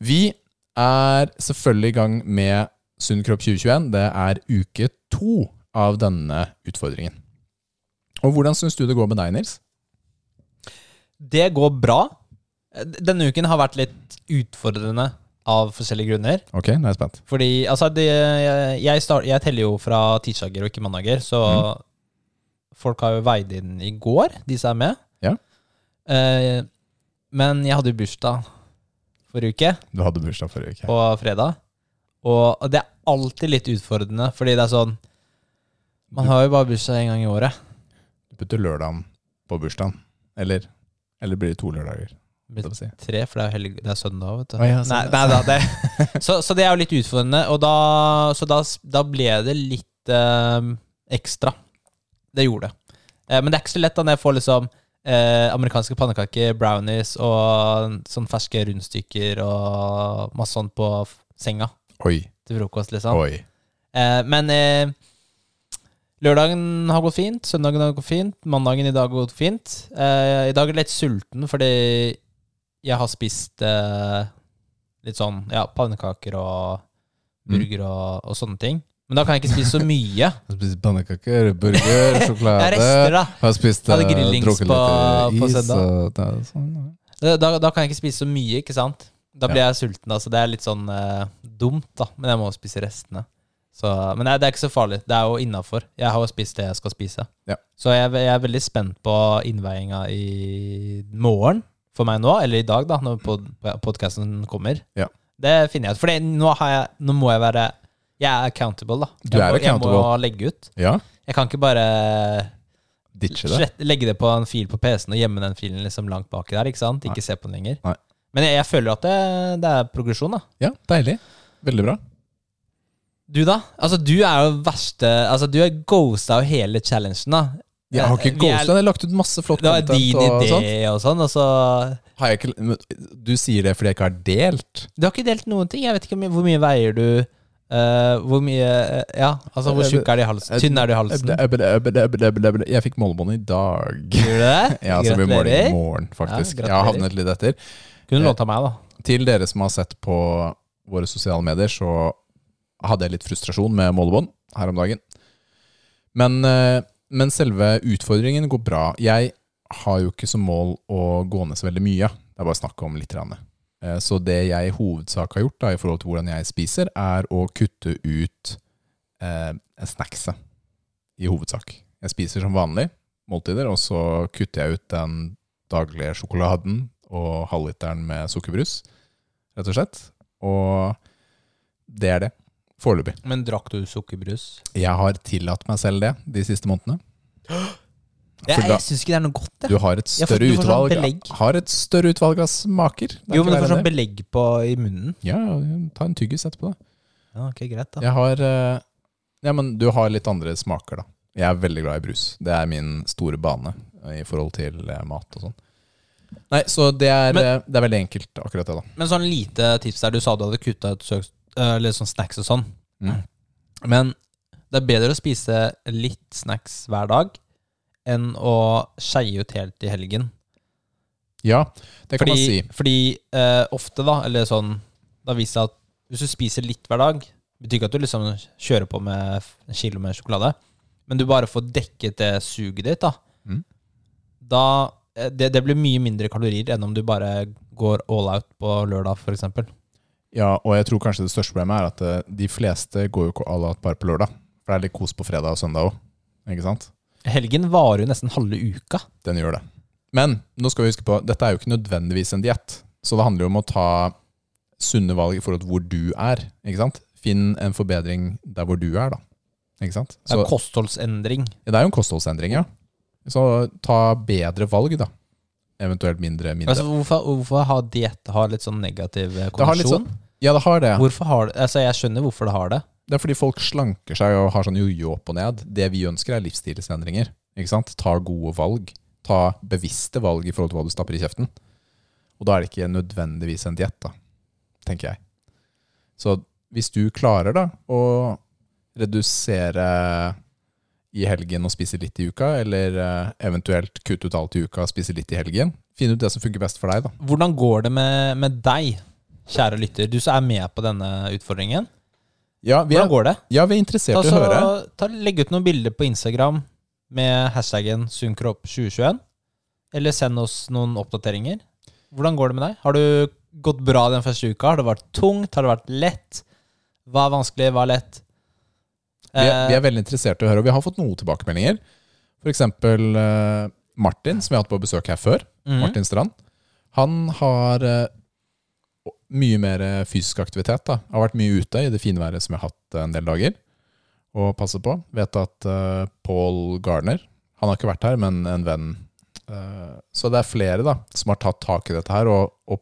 Speaker 2: Vi er selvfølgelig i gang med Sunn kropp 2021. Det er uke to av denne utfordringen. Og hvordan syns du det går med deg, Nils?
Speaker 1: Det går bra. Eh, Denne uken har vært litt utfordrende av forskjellige grunner.
Speaker 2: Ok, nå er jeg spent.
Speaker 1: Fordi altså, det, jeg, jeg, start, jeg teller jo fra tirsdager og ikke mandager, så folk har jo veid inn i går, de som er med.
Speaker 2: Ja.
Speaker 1: Eh, men jeg hadde jo bursdag forrige uke,
Speaker 2: Du hadde bursdag forrige uke.
Speaker 1: på fredag. Og det er alltid litt utfordrende, fordi det er sånn Man har jo bare bursdag én gang i året.
Speaker 2: Du putter lørdagen på bursdagen. Eller, eller blir det to lørdager?
Speaker 1: Det
Speaker 2: holdt jeg på å si.
Speaker 1: Tre, for det er, jo helg, det er søndag, vet du.
Speaker 2: Å, ja,
Speaker 1: nei,
Speaker 2: søndag.
Speaker 1: nei, da, det, så, så det er jo litt utfordrende, og da, så da, da ble det litt eh, ekstra. Det gjorde det. Eh, men det er ikke så lett da når jeg får liksom eh, amerikanske pannekaker, brownies og sånn ferske rundstykker og masse sånt på f- senga
Speaker 2: Oi,
Speaker 1: til frokost, liksom.
Speaker 2: oi.
Speaker 1: Eh, men eh, lørdagen har gått fint, søndagen har gått fint, mandagen i dag har gått fint. Eh, I dag er jeg litt sulten fordi jeg har spist eh, litt sånn ja, pannekaker og burger og, og sånne ting. Men da kan jeg ikke spise så mye.
Speaker 2: Jeg har spist pannekaker, burger,
Speaker 1: Det
Speaker 2: sjokolade.
Speaker 1: er rester, da.
Speaker 2: Har spist
Speaker 1: Hadde
Speaker 2: eh,
Speaker 1: grillings
Speaker 2: drukket
Speaker 1: på-
Speaker 2: litt
Speaker 1: på
Speaker 2: is,
Speaker 1: søndag.
Speaker 2: og det er sånn, ja.
Speaker 1: Eh, Da, da kan jeg ikke spise så mye, ikke sant? Da blir jeg sulten, da, så det er litt sånn eh, dumt, da. Men jeg må spise restene. Så, men det er, det er ikke så farlig. Det er jo innafor. Jeg har jo spist det jeg skal spise.
Speaker 2: Ja.
Speaker 1: Så jeg, er- jeg er veldig spent på innveiinga i morgen for meg nå, eller i dag, da, når pod podkasten kommer.
Speaker 2: Ja.
Speaker 1: Det finner jeg ut. For nå, har jeg- nå må jeg være Jeg er accountable, da.
Speaker 2: Du
Speaker 1: jeg,
Speaker 2: er
Speaker 1: må, jeg må
Speaker 2: accountable.
Speaker 1: legge ut.
Speaker 2: Ja,
Speaker 1: Jeg kan ikke bare
Speaker 2: ditche det.
Speaker 1: slett, legge det på en fil på PC-en og gjemme den filen liksom langt baki der. Ikke sant? Ikke se på den lenger.
Speaker 2: Nei.
Speaker 1: Men jeg, jeg føler at det, det er progresjon, da.
Speaker 2: Ja, deilig. Veldig bra.
Speaker 1: Du, da? Altså, du er jo verste Altså, du er ghosta av hele challengen, da. Eh,
Speaker 2: Jeg har ikke
Speaker 1: Vi er-
Speaker 2: ghosta, jeg har lagt ut masse flott
Speaker 1: Det var din
Speaker 2: content og
Speaker 1: idé
Speaker 2: sånt.
Speaker 1: og sånn, og så
Speaker 2: Har jeg ikke, men du sier det fordi jeg ikke har delt?
Speaker 1: Du har ikke delt noen ting. Jeg vet ikke hvor mye, hvor mye veier du eh, Hvor mye eh, Ja, altså, hvor tjukk er du i halsen? Tynn er du i halsen?
Speaker 2: Jeg fikk målebånd i dag.
Speaker 1: Gjør du det?
Speaker 2: Ja, så blir måling i
Speaker 1: Gratulerer.
Speaker 2: morgen,
Speaker 1: Ja,
Speaker 2: faktisk. jeg har
Speaker 1: gratulerer.
Speaker 2: havnet litt etter.
Speaker 1: Kunne du lånt av meg, da.
Speaker 2: Til dere som har sett på våre sosiale medier, så hadde jeg litt frustrasjon med målebånd her om dagen. Men, eh, men selve utfordringen går bra. Jeg har jo ikke som mål å gå ned så veldig mye. Det er bare snakk om litt. grann. Eh, Eh, Så det jeg i hovedsak har gjort da, i forhold til hvordan jeg spiser, er å kutte ut eh, snackset. I hovedsak. Jeg spiser som vanlig måltider, og så kutter jeg ut den daglige sjokoladen og halvliteren med sukkerbrus, rett og slett. Og det er det. Foreløpig.
Speaker 1: Men drakk du sukkerbrus?
Speaker 2: Jeg har tillatt meg selv det de siste månedene.
Speaker 1: Jeg,
Speaker 2: For da-
Speaker 1: jeg syns ikke det er noe godt. Jeg.
Speaker 2: Du har et
Speaker 1: Ja, for
Speaker 2: større
Speaker 1: du får sånn
Speaker 2: utvalg
Speaker 1: belegg.
Speaker 2: Har et større utvalg av smaker. Det er
Speaker 1: Jo,
Speaker 2: ikke
Speaker 1: men du
Speaker 2: verre
Speaker 1: får
Speaker 2: enn
Speaker 1: sånn
Speaker 2: det.
Speaker 1: belegg på, i munnen.
Speaker 2: Ja, ja, ta en tyggis etterpå, da.
Speaker 1: Ja, ok, greit da.
Speaker 2: Jeg har eh, Ja, men du har litt andre smaker, da. Jeg er veldig glad i brus. Det er min store bane eh, i forhold til eh, mat og sånn. Nei, så det er,
Speaker 1: Men-
Speaker 2: eh, det er veldig enkelt, akkurat det, da.
Speaker 1: Men sånn lite tips der. Du sa du hadde kutta ut søks, øh, eller sånn snacks og sånn.
Speaker 2: Mm.
Speaker 1: Men det er bedre å spise litt snacks hver dag enn å skeie ut helt i helgen.
Speaker 2: Ja, det kan
Speaker 1: Fordi,
Speaker 2: man si.
Speaker 1: fordi eh, ofte, da, eller sånn Det har vist seg at hvis du spiser litt hver dag, betyr ikke at du liksom kjører på med f- en kilo med sjokolade, men du bare får dekket det suget ditt, da.
Speaker 2: Mm.
Speaker 1: Da eh, det, det blir mye mindre kalorier enn om du bare går all out på lørdag, for eksempel.
Speaker 2: Ja, og jeg tror kanskje det største problemet er at eh, de fleste går jo ikke all out bare på lørdag. For det er litt kos på fredag og søndag òg, ikke sant?
Speaker 1: Helgen varer jo nesten halve uka.
Speaker 2: Den gjør det. Men nå skal vi huske på, dette er jo ikke nødvendigvis en diett. Så det handler jo om å ta sunne valg i forhold til hvor du er. ikke sant? Finn en forbedring der hvor du er, da. Ikke sant?
Speaker 1: Det
Speaker 2: Så,
Speaker 1: er kostholdsendring.
Speaker 2: det er jo en kostholdsendring, ja. Så ta bedre valg, da. Eventuelt mindre
Speaker 1: Altså,
Speaker 2: mindre.
Speaker 1: hvorfor, hvorfor har diett har litt sånn negativ eh,
Speaker 2: Det har litt sånn-
Speaker 1: konnotasjon?
Speaker 2: Ja, det har det.
Speaker 1: Hvorfor har det Altså, jeg skjønner hvorfor det har det.
Speaker 2: Det er fordi folk slanker seg og har sånn jojo opp og ned. Det vi ønsker, er livsstilsendringer. Ikke sant? Ta gode valg. Ta bevisste valg i forhold til hva du stapper i kjeften. Og da er det ikke nødvendigvis en diett, da, tenker jeg. Så hvis du klarer da å redusere i helgen og spise litt i uka, eller eh, eventuelt kutte ut alt i uka og spise litt i helgen, finn ut det som funker best for deg, da.
Speaker 1: Hvordan går det med, med deg, kjære lytter, du som er med på denne utfordringen?
Speaker 2: Ja, vi
Speaker 1: Hvordan
Speaker 2: er,
Speaker 1: går det?
Speaker 2: ja, vi er interessert
Speaker 1: Ta,
Speaker 2: i å høre.
Speaker 1: så- ta, legg ut noen bilder på Instagram med hashtaggen sunkropp2021. Eller send oss noen oppdateringer. Hvordan går det med deg? Har du gått bra den første uka? Har det vært tungt? Har det vært lett? Hva er vanskelig? Hva er lett?
Speaker 2: Vi er, vi
Speaker 1: Eh,
Speaker 2: er veldig interessert i å høre, og vi har fått noen tilbakemeldinger. For eksempel eh, Martin, som vi har hatt på besøk her før.
Speaker 1: mhm.
Speaker 2: Martin Strand. Han har eh, mye mer eh, fysisk aktivitet. Da. Har vært mye ute i det fine været som jeg har hatt eh, en del dager. Og passer på. Vet at eh, Paul Garner Han har ikke vært her, men en venn. Eh, så det er flere da, som har tatt tak i dette her, og, og,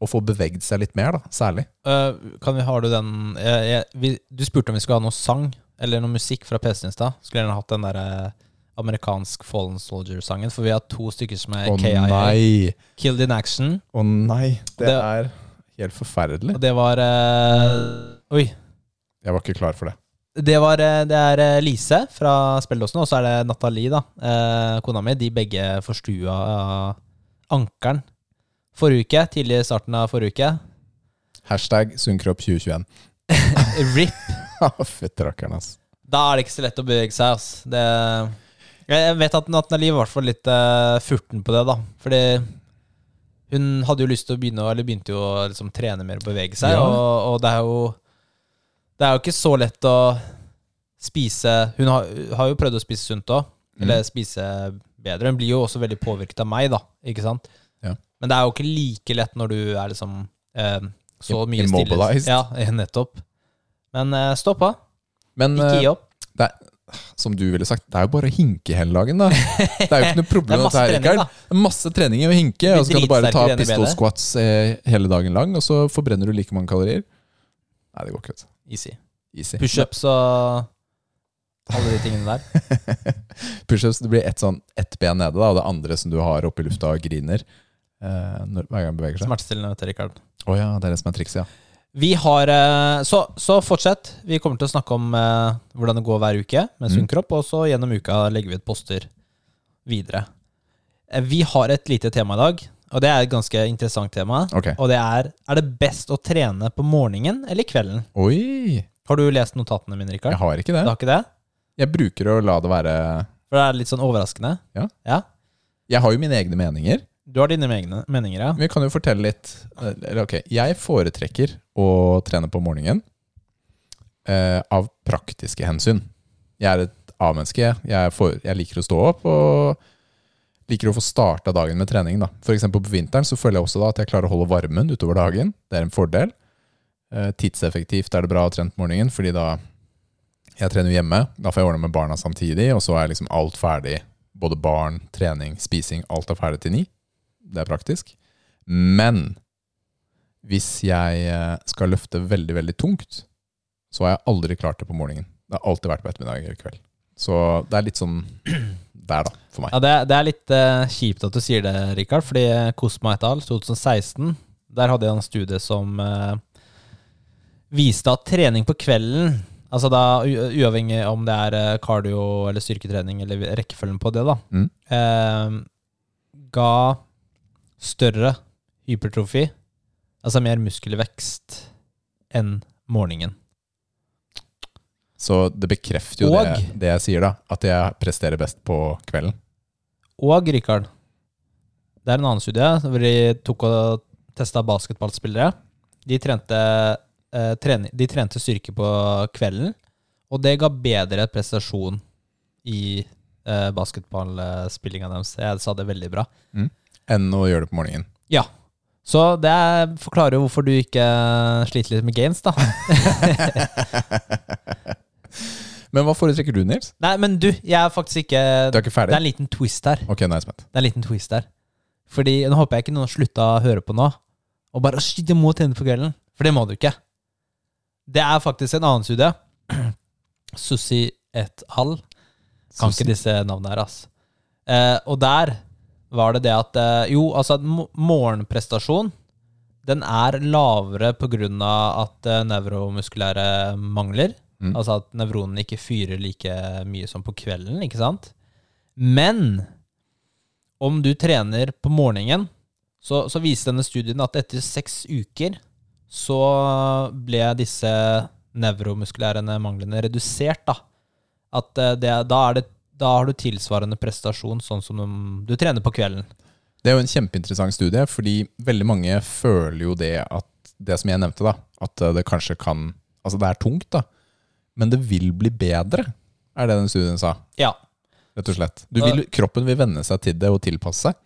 Speaker 2: og får bevegd seg litt mer, da, særlig.
Speaker 1: Eh, kan vi, har du den jeg, jeg, vi, Du spurte om vi skulle ha noe sang eller noe musikk fra PC-en i stad. Skulle gjerne hatt den der eh, amerikansk Fallen Soldier-sangen, for vi har to stykker som er
Speaker 2: Å
Speaker 1: KIA.
Speaker 2: nei!
Speaker 1: Killed in Action.
Speaker 2: Å nei! Det
Speaker 1: Det-
Speaker 2: er helt forferdelig.
Speaker 1: Og det var eh, Oi.
Speaker 2: Jeg var ikke klar for det.
Speaker 1: Det, var, eh, det er eh, Lise fra Spelledåsen, og så er det Nathalie, da, eh, kona mi. De begge forstua eh, ankelen forrige uke. Tidlig i starten av forrige uke.
Speaker 2: Hashtag Sundkropp2021.
Speaker 1: RIP.
Speaker 2: Fytti rakkeren, ass.
Speaker 1: Da er det ikke så lett å bevege seg, ass. Det, jeg jeg vet at Nathalie var i hvert fall litt eh, furten på det, da. Fordi hun hadde jo lyst til å begynne å, eller begynte jo å liksom, trene mer og bevege seg.
Speaker 2: Ja.
Speaker 1: Og, og det er jo Det er jo ikke så lett å spise Hun har, har jo prøvd å spise sunt òg,
Speaker 2: Mm.
Speaker 1: eller spise bedre. Hun blir jo også veldig påvirket av meg, da. Ikke sant?
Speaker 2: Ja.
Speaker 1: Men det er jo ikke like lett når du er liksom eh, så
Speaker 2: Im-
Speaker 1: mye
Speaker 2: immobilized.
Speaker 1: stille. Ja, nettopp. Men eh, stå på.
Speaker 2: Men
Speaker 1: Ikke gi
Speaker 2: eh,
Speaker 1: opp.
Speaker 2: det er, som du ville sagt, det er jo bare å hinke hele dagen, da. Det er jo ikke noe
Speaker 1: Det
Speaker 2: problem.
Speaker 1: er masse
Speaker 2: dette her,
Speaker 1: trening,
Speaker 2: Rikard. Det er masse trening i å hinke,
Speaker 1: Blir
Speaker 2: og så kan du bare ta
Speaker 1: dritsterk i det ene
Speaker 2: pistol
Speaker 1: benet.
Speaker 2: squats eh, hele dagen lang, og så forbrenner du like mange kalorier. Nei, det går ikke. vet du.
Speaker 1: Easy.
Speaker 2: Easy.
Speaker 1: Pushups og alle de tingene der.
Speaker 2: Pushups, det blir ett sånn, ett ben nede, da, og det andre som du har oppi lufta og griner eh, når, hver gang du beveger seg.
Speaker 1: Smertestillende, vet du, Rikard.
Speaker 2: Å ja, det er det som er trikset, ja.
Speaker 1: Vi har eh, Så, så fortsett. Vi kommer til å snakke om eh, hvordan det går hver uke med sunn
Speaker 2: Mm.
Speaker 1: kropp, og så gjennom uka legger vi ut poster videre. Eh, Vi har et lite tema i dag, og det er et ganske interessant tema.
Speaker 2: Ok.
Speaker 1: Og det er Er det best å trene på morgenen eller kvelden?
Speaker 2: Oi!
Speaker 1: Har du lest notatene mine,
Speaker 2: Jeg
Speaker 1: Rikard?
Speaker 2: har ikke det.
Speaker 1: Du har ikke det?
Speaker 2: Jeg bruker å la det være
Speaker 1: For det er litt sånn overraskende.
Speaker 2: Ja.
Speaker 1: ja.
Speaker 2: Jeg har jo mine egne meninger.
Speaker 1: Du har dine egne meninger, ja?
Speaker 2: Vi kan jo fortelle litt. Eller, ok, Jeg foretrekker å trene på morgenen eh, av praktiske hensyn. Jeg er et A-menneske. jeg. Jeg, er for- jeg liker å stå opp og liker å få starta dagen med trening. Da. For eksempel på vinteren så føler jeg også da at jeg klarer å holde varmen utover dagen. Det er en fordel. Eh, tidseffektivt er det bra å trene på morgenen, fordi da jeg trener jo hjemme. Da får jeg ordna med barna samtidig, og så er liksom alt ferdig. Både barn, trening, spising. Alt er ferdig til ni. Det er praktisk. Men hvis jeg eh, skal løfte veldig, veldig tungt, så har jeg aldri klart det på morgenen. Det har alltid vært på ettermiddag eller kveld. Så det er litt sånn der, da, for meg.
Speaker 1: Ja, det, er- det er litt eh, kjipt at du sier det, Rikard, fordi Kosma et al. 2016, der hadde jeg en studie som eh, viste at trening på kvelden, altså da u- uavhengig om det er eh, cardio eller styrketrening eller rekkefølgen på det, da,
Speaker 2: Mm.
Speaker 1: eh, ga større hypertrofi, altså mer muskelvekst, enn morgenen.
Speaker 2: Så det bekrefter jo
Speaker 1: Og-
Speaker 2: det, det jeg sier, da. At jeg presterer best på kvelden.
Speaker 1: Og Rikard, det er en annen studie hvor de tok og testa basketballspillere. De trente, eh, trening, de trente styrke på kvelden, og det ga bedre prestasjon i eh, basketballspillinga deres. Jeg sa det veldig bra.
Speaker 2: Enn å gjøre det på morgenen.
Speaker 1: Så det er- forklarer jo hvorfor du ikke sliter litt med gains, da.
Speaker 2: Men hva foretrekker du, Nils?
Speaker 1: Nei, men du, jeg er faktisk ikke
Speaker 2: Du er ikke
Speaker 1: Det er
Speaker 2: ferdig?
Speaker 1: en liten twist her.
Speaker 2: Ok, nå er jeg spent.
Speaker 1: Det er en liten twist der. Fordi nå håper jeg ikke noen har slutta å høre på nå. Og bare «Å, shit, jeg må trene på kvelden. For det må du ikke. Det er faktisk en annen studie. Sussi et al. Kan
Speaker 2: Susi.
Speaker 1: ikke disse navnene her, ass. Eh, og der var det det at eh, Jo, altså, mo- morgenprestasjon den er lavere pga. at eh, nevromuskulære mangler.
Speaker 2: Mm.
Speaker 1: Altså at nevronene ikke fyrer like mye som på kvelden, ikke sant? Men om du trener på morgenen, så, så viser denne studien at etter seks uker så ble disse nevromuskulære manglene redusert. Da, at eh, det, da, er det, da har du tilsvarende prestasjon sånn som om du trener på kvelden.
Speaker 2: Det er jo en kjempeinteressant studie, fordi veldig mange føler jo det at det som jeg nevnte, da, at eh, det kanskje kan Altså, det er tungt, da, men det vil bli bedre, er det den studien sa.
Speaker 1: Ja,
Speaker 2: Rett og slett. Du vil, kroppen vil venne seg til det og tilpasse seg.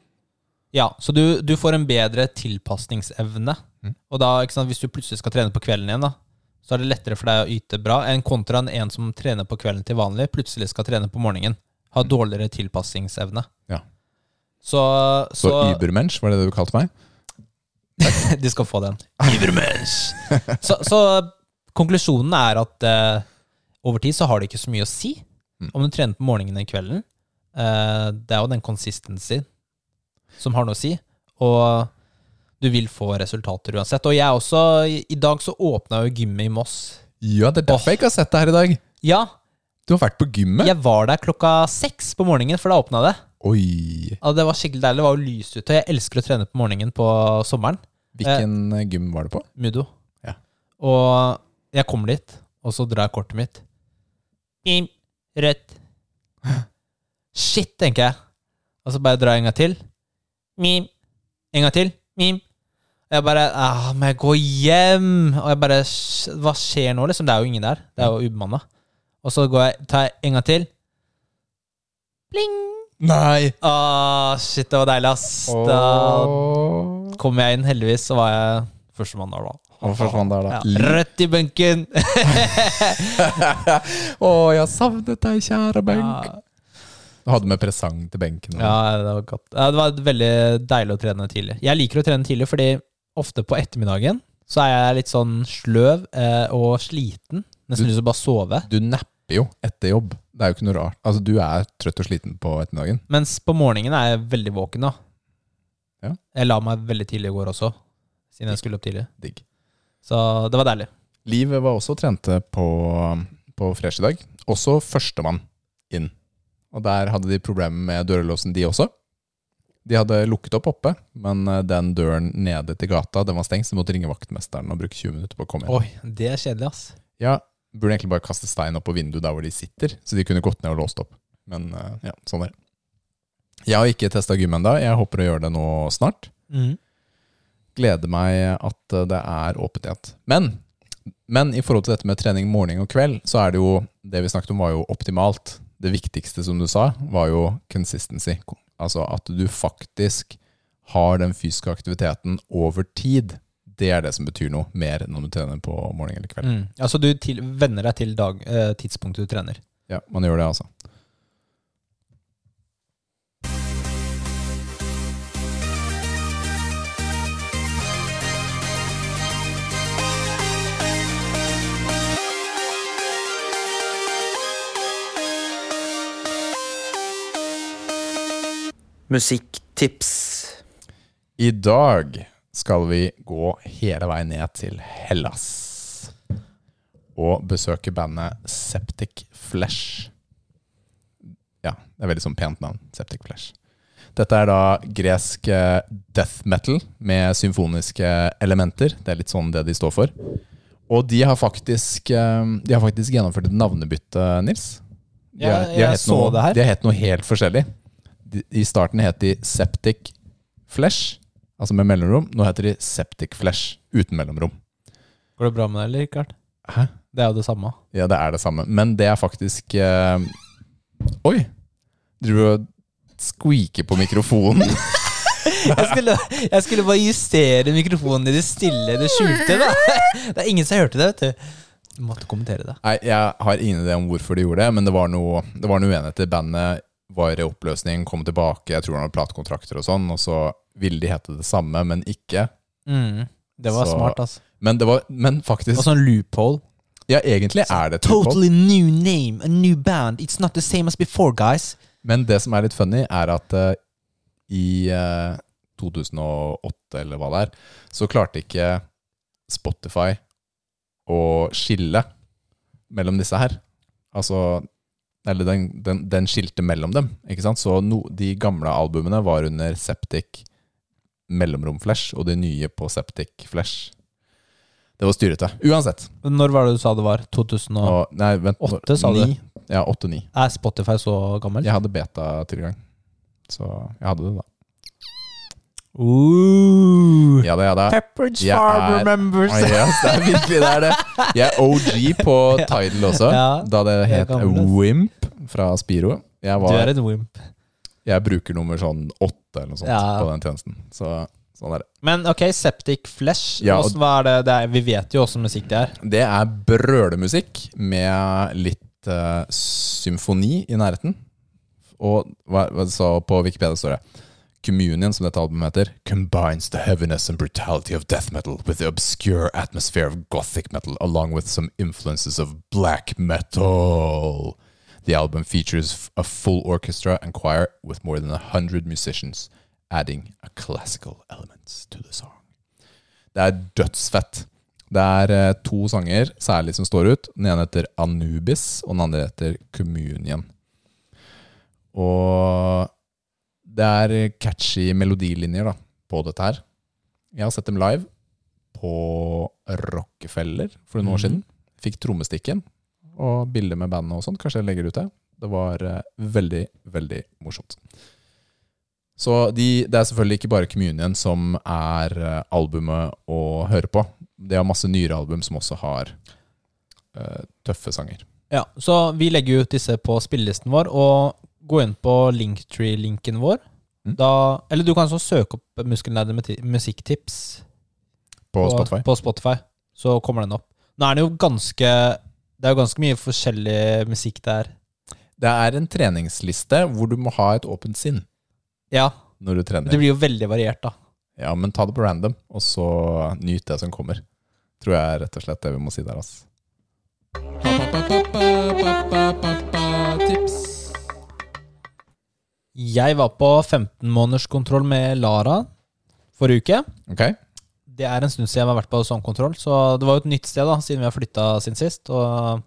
Speaker 1: Ja, så du, du får en bedre tilpasningsevne.
Speaker 2: Mm.
Speaker 1: Og da, ikke sant, hvis du plutselig skal trene på kvelden igjen, da, så er det lettere for deg å yte bra enn kontra en- en som trener på kvelden til vanlig, plutselig skal trene på morgenen. Har dårligere tilpasningsevne.
Speaker 2: Mm. Ja.
Speaker 1: Så,
Speaker 2: Så,
Speaker 1: så,
Speaker 2: übermensch, var det det du kalte meg?
Speaker 1: de skal få den. så, så konklusjonen er at eh, over tid så har det ikke så mye å si
Speaker 2: Mm.
Speaker 1: om du trener på morgenen eller kvelden. Eh, det er jo den consistency som har noe å si, og du vil få resultater uansett. Og jeg er også, i, i dag så åpna jo gymmet i Moss.
Speaker 2: Ja, det er derfor jeg ikke har sett deg her i dag.
Speaker 1: Ja,
Speaker 2: Du har vært på gymmet.
Speaker 1: jeg var der klokka seks på morgenen, for da åpna det.
Speaker 2: Oi.
Speaker 1: Ja, det var skikkelig deilig. Det var jo lyst ute. Jeg elsker å trene på morgenen på sommeren. Eh.
Speaker 2: Hvilken eh, gym var det på?
Speaker 1: Mudo.
Speaker 2: Ja.
Speaker 1: Og jeg kommer dit, og så drar jeg kortet mitt. Im, rødt. Shit, tenker jeg. Og så bare drar jeg en gang til. Mim. En gang til. Mim. Og jeg bare ah, Må jeg gå hjem? Og jeg bare «Sj- Hva skjer nå, liksom? Det er jo ingen der. Det er jo ubemanna. Og så går jeg, tar jeg en gang til. Pling!
Speaker 2: Nei!
Speaker 1: Ah, shit, det var deilig, ass. Da
Speaker 2: Åh.
Speaker 1: kom jeg inn, heldigvis, så var jeg førstemann der, da.
Speaker 2: Hva forsvant der, da?
Speaker 1: Ja. Rødt i benken!
Speaker 2: Å, jeg har savnet deg, kjære benk.
Speaker 1: Ja.
Speaker 2: Du hadde med presang til benken. og-
Speaker 1: Ja, det var godt. Ja, Det var veldig deilig å trene tidlig. Jeg liker å trene tidlig, fordi ofte på ettermiddagen så er jeg litt sånn sløv eh, og sliten. Nesten lyst til å bare sove.
Speaker 2: Du napper jo etter jobb. Det er jo ikke noe rart. Altså, du er trøtt og sliten på ettermiddagen.
Speaker 1: Mens på morgenen er jeg veldig våken, da.
Speaker 2: Ja.
Speaker 1: Jeg la meg veldig tidlig i går også, siden jeg skulle opp tidlig.
Speaker 2: Digg.
Speaker 1: Så det var deilig.
Speaker 2: Liv var også og trente på, på Fresh i dag. Også førstemann inn. Og der hadde de problemer med dørlåsen, de også. De hadde lukket opp oppe, men eh, den døren nede til gata den var stengt, så de måtte ringe vaktmesteren og bruke 20 minutter på å komme inn.
Speaker 1: Oi, det er kjedelig, ass.
Speaker 2: Ja, burde egentlig bare kaste stein opp på vinduet der hvor de sitter, så de kunne gått ned og låst opp. Men eh, ja, sånn er det. Jeg har ikke testa gym ennå. Jeg håper å gjøre det nå snart.
Speaker 1: Mm.
Speaker 2: Gleder meg at eh, det er åpent igjen. Men, men i forhold til dette med trening morgen og kveld, så er det jo Det vi snakket om, var jo optimalt. Det viktigste, som du sa, var jo consistency. Altså at du faktisk har den fysiske aktiviteten over tid. Det er det som betyr noe, mer enn om du trener på morgen eller kveld.
Speaker 1: Mm. Altså du til, venner deg til dag, eh, tidspunktet du trener.
Speaker 2: Ja, man gjør det, altså.
Speaker 3: Musikktips.
Speaker 2: I dag skal vi gå hele veien ned til Hellas og besøke bandet Septic Flesh. Ja, det er veldig sånn pent navn. Septic Flesh. Dette er da gresk eh, death metal med symfoniske elementer. Det er litt sånn det de står for. Og de har faktisk, eh, de har faktisk gjennomført et navnebytte, Nils. De
Speaker 1: Ja,
Speaker 2: har- de har
Speaker 1: jeg
Speaker 2: hett
Speaker 1: så
Speaker 2: noe,
Speaker 1: det her.
Speaker 2: De har hett noe helt forskjellig. De, I starten het de Septic Flesh, altså med mellomrom. Nå heter de Septic Flesh uten mellomrom.
Speaker 1: Går det bra med deg, eller, Rikard?
Speaker 2: Hæ?
Speaker 1: Det er jo det samme.
Speaker 2: Ja, det er det samme. Men det er faktisk eh, Oi! Driver du og squeaker på mikrofonen?
Speaker 1: Jeg skulle, jeg skulle bare justere mikrofonen i det stille, det skjulte. da Det er ingen som hørte det, vet du. Du måtte kommentere det.
Speaker 2: Nei, jeg har ingen idé om hvorfor de gjorde det, men det var noe, det var noe uenigheter. Bandet var i oppløsning, kom tilbake, jeg tror han hadde platekontrakter og sånn, og så ville de hete det samme, men ikke.
Speaker 1: Mm. Det var
Speaker 2: Så-
Speaker 1: smart, altså.
Speaker 2: Men, det var, men
Speaker 1: Og
Speaker 2: faktisk
Speaker 1: sånn loophole.
Speaker 2: Ja, egentlig er det et loophole.
Speaker 1: Totally new name, a new band. It's not the same as before, guys.
Speaker 2: Men det som er litt funny, er at eh, i eh, 2008, eller hva det er, så klarte ikke Spotify å skille mellom disse her. Altså Eller den, den, den skilte mellom dem, ikke sant? Så no, de gamle albumene var under Septic Mellomrom Flash, og de nye på Septic Flash. Det var styrete. Uansett.
Speaker 1: Når var det du sa det var? 2000 og...
Speaker 2: Og, nei, vent. nå-
Speaker 1: Ah. Åtte, sa du?
Speaker 2: ni. Ja, åtte-ni.
Speaker 1: Er Spotify så gammel?
Speaker 2: Jeg hadde beta-tilgang, så jeg hadde det da.
Speaker 1: Ooh.
Speaker 2: Ja da, ja da.
Speaker 1: Pepperidge
Speaker 2: Jeg
Speaker 1: Farm
Speaker 2: er-
Speaker 1: remembers.
Speaker 2: Ah, yes, det er virkelig det er det. Jeg er OG på Tidal også,
Speaker 1: Ja,
Speaker 2: da det
Speaker 1: jeg er
Speaker 2: het
Speaker 1: gammel, ass.
Speaker 2: Wimp fra Spiro. Jeg,
Speaker 1: Du er
Speaker 2: var,
Speaker 1: en wimp.
Speaker 2: jeg bruker nummer sånn åtte eller noe sånt
Speaker 1: Ja.
Speaker 2: på den tjenesten. Så sånn er det.
Speaker 1: Men ok, Septic Flesh.
Speaker 2: Ja, og-
Speaker 1: hvordan- hva er det? det er, vi vet jo åssen musikk det er.
Speaker 2: Det er brølemusikk med litt eh, symfoni i nærheten. Og hva, hva så på Wikipedia står det Communion, som dette albumet heter, combines the heaviness and brutality of death metal with the obscure atmosphere of gothic metal, along with some influences of black metal. The album features f- a full orchestra and choir with more than 100 musicians, adding a classical element to the song. Det er dødsfett. Det er eh, to sanger særlig som står ut. Den ene heter Anubis, og den andre heter Communion. Og det er catchy melodilinjer da, på dette her. Jeg har sett dem live på Rockefeller for noen år siden. Fikk trommestikken og bilder med bandet og sånt. Kanskje jeg legger ut det. Det var eh, veldig, veldig morsomt. Så de, det er selvfølgelig ikke bare Communion som er eh, albumet å høre på. Det er masse nyere album som også har eh, tøffe sanger.
Speaker 1: Ja, så vi legger jo ut disse på spillelisten vår, og gå inn på Linktree-linken vår.
Speaker 2: Mm.
Speaker 1: Da, eller du kan så søke opp Muskelnerdene med ti- musikktips
Speaker 2: På Spotify.
Speaker 1: på Spotify. Så kommer den opp. Nå er det jo ganske Det er jo ganske mye forskjellig musikk der.
Speaker 2: Det er en treningsliste hvor du må ha et åpent sinn
Speaker 1: Ja.
Speaker 2: når du
Speaker 1: Det
Speaker 2: trener.
Speaker 1: blir jo veldig variert, da.
Speaker 2: Ja, Men ta det på random, og så nyt det som kommer. Tror jeg er rett og slett det vi må si der, ass.
Speaker 1: Jeg var på 15-månederskontroll med Lara forrige uke.
Speaker 2: Ok?
Speaker 1: Det er en stund siden jeg har vært på sånn kontroll, så det var jo et nytt sted da, siden vi har flytta siden sist. Og,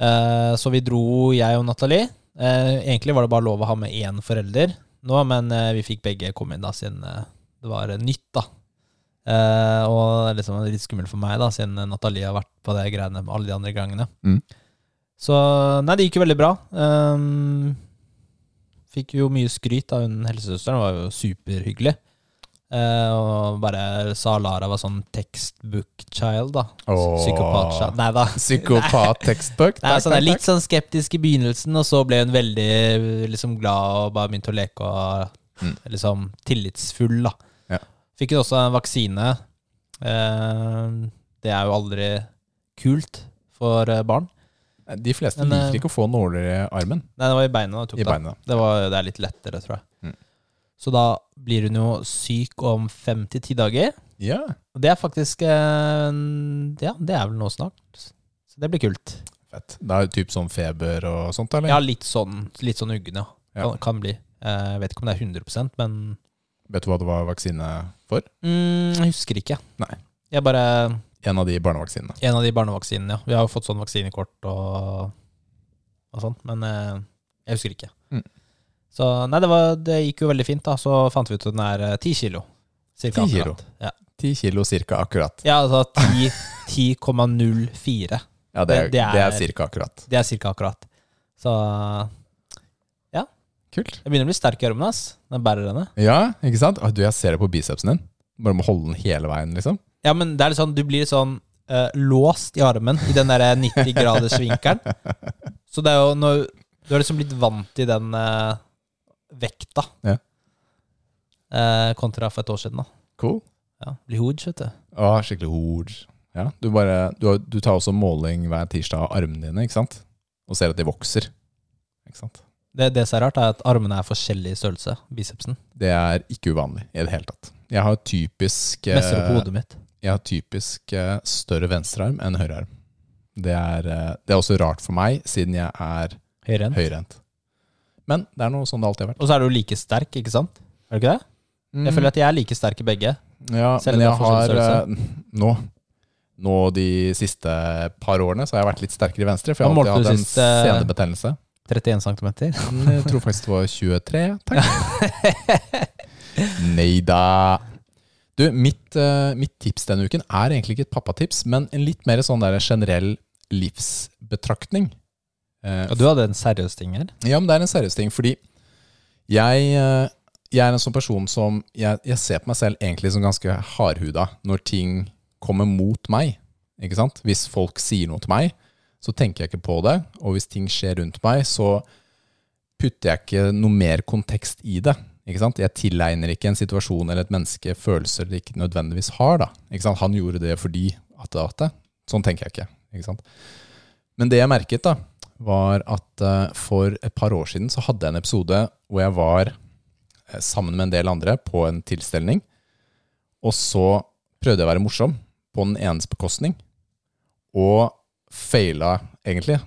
Speaker 1: eh, så vi dro, jeg og Nathalie. Eh, egentlig var det bare lov å ha med én forelder nå, men eh, vi fikk begge komme inn da, siden eh, det var eh, nytt, da. Eh, og det er liksom litt skummelt for meg, da, siden eh, Nathalie har vært på det greiene med alle de andre gangene.
Speaker 2: Mm.
Speaker 1: Så nei, det gikk jo veldig bra. Um, Eh, Fikk jo mye skryt av hun helsesøsteren, var jo superhyggelig. Eh, og bare sa Lara var sånn textbook child, da.
Speaker 2: Åh.
Speaker 1: Psykopat-child. Nei da.
Speaker 2: Psykopat textbook.
Speaker 1: Nei,
Speaker 2: Takk,
Speaker 1: altså, det er
Speaker 2: takk,
Speaker 1: litt sånn skeptisk i begynnelsen, og så ble hun veldig liksom, glad og bare begynte å leke og liksom tillitsfull. Da.
Speaker 2: Mm. Ja.
Speaker 1: Fikk hun også en vaksine. Eh, det er jo aldri kult for eh, barn.
Speaker 2: takk. De fleste
Speaker 1: Men, eh,
Speaker 2: liker ikke å få nåler i armen.
Speaker 1: Nei, det var i beina hun tok det.
Speaker 2: I beina.
Speaker 1: Det, var, det er litt lettere, tror jeg.
Speaker 2: Mm.
Speaker 1: Så da blir hun jo syk om fem til ti dager.
Speaker 2: Ja,
Speaker 1: Og det er faktisk eh, Ja, det er vel nå snart. Så det blir kult.
Speaker 2: fett. Det er typ sånn feber og sånt, eller?
Speaker 1: Ja, litt sånn, litt sånn uggen, ja.
Speaker 2: Ja.
Speaker 1: Kan, kan bli. Eh, Jeg vet ikke om det er 100 men
Speaker 2: Vet du hva det var vaksine for?
Speaker 1: mm, jeg husker ikke.
Speaker 2: Nei.
Speaker 1: Jeg bare
Speaker 2: En av de barnevaksinene.
Speaker 1: En av de barnevaksinene, ja. Vi har jo fått sånn vaksinekort og, og sånt, men eh, jeg husker ikke.
Speaker 2: Mm.
Speaker 1: Så nei, det, var, det gikk jo veldig fint, da. Så fant vi ut at den er eh, 10 kilo. Cirka
Speaker 2: 10 kilo.
Speaker 1: akkurat. Ja,
Speaker 2: 10 kilo cirka akkurat.
Speaker 1: ja altså 10 10,04.
Speaker 2: Ja, det er,
Speaker 1: Det- det er-
Speaker 2: det er cirka akkurat.
Speaker 1: det er cirka akkurat. Så
Speaker 2: Kult.
Speaker 1: jeg begynner å bli sterk i armen, ass. Den bærer henne.
Speaker 2: Ja, ikke sant? Å, Du, jeg ser det på bicepsen din. Bare må holde den hele veien, liksom.
Speaker 1: Ja, men det er litt sånn, du blir litt sånn eh, låst i armen i den der eh, 90-gradersvinkelen. Så det er jo når Du har liksom blitt vant til den eh, vekta.
Speaker 2: Ja.
Speaker 1: Eh, kontra for et år siden, da.
Speaker 2: Cool.
Speaker 1: Ja, blir hood, vet du.
Speaker 2: Å, skikkelig hord. Ja, du, bare, du, har- du tar også måling hver tirsdag av armene dine, ikke sant? Og ser at de vokser. Ikke sant?
Speaker 1: Det, det som er rart, er at armene er forskjellig i størrelse. Bicepsen.
Speaker 2: Det er ikke uvanlig i det hele tatt. Jeg har typisk, eh,
Speaker 1: Messer opp hodet mitt.
Speaker 2: jeg har typisk eh, større venstrearm enn høyrearm. Det er, eh, det er også rart for meg, siden jeg er
Speaker 1: Høyre enn.
Speaker 2: høyrehendt. Men det er noe sånn det alltid har vært.
Speaker 1: Og så er du like sterk, ikke sant? Er du ikke det?
Speaker 2: Mm.
Speaker 1: Jeg føler at jeg er like sterk i begge.
Speaker 2: Ja,
Speaker 1: Selv om
Speaker 2: men
Speaker 1: det
Speaker 2: jeg
Speaker 1: er forskjellig
Speaker 2: har eh, nå, nå de siste par årene så har jeg vært litt sterkere i venstre, for jeg
Speaker 1: Hva
Speaker 2: har
Speaker 1: målte
Speaker 2: alltid
Speaker 1: du
Speaker 2: hatt en
Speaker 1: sist, eh?
Speaker 2: senebetennelse.
Speaker 1: 31 cm.
Speaker 2: Men Jeg tror faktisk det var 23. Takk. Nei da. Du, mitt, eh, mitt tips denne uken er egentlig ikke et pappatips, men en litt mer sånn der generell livsbetraktning. Eh,
Speaker 1: Og du hadde en seriøs ting her.
Speaker 2: ja, men det er en seriøs ting, fordi jeg, eh, jeg er en sånn person som jeg, jeg ser på meg selv egentlig som ganske hardhuda når ting kommer mot meg. Ikke sant? Hvis folk sier noe til meg, så tenker jeg ikke på det. Og hvis ting skjer rundt meg, så putter jeg ikke noe mer kontekst i det. Ikke sant? Jeg tilegner ikke en situasjon eller et menneske følelser det ikke nødvendigvis har. Da. Ikke sant? Han gjorde det fordi at det at det. Sånn tenker jeg ikke. ikke sant? Men det jeg merket, da, var at eh, for et par år siden så hadde jeg en episode hvor jeg var eh, sammen med en del andre på en tilstelning. Og så prøvde jeg å være morsom på den enes bekostning. Og faila egentlig.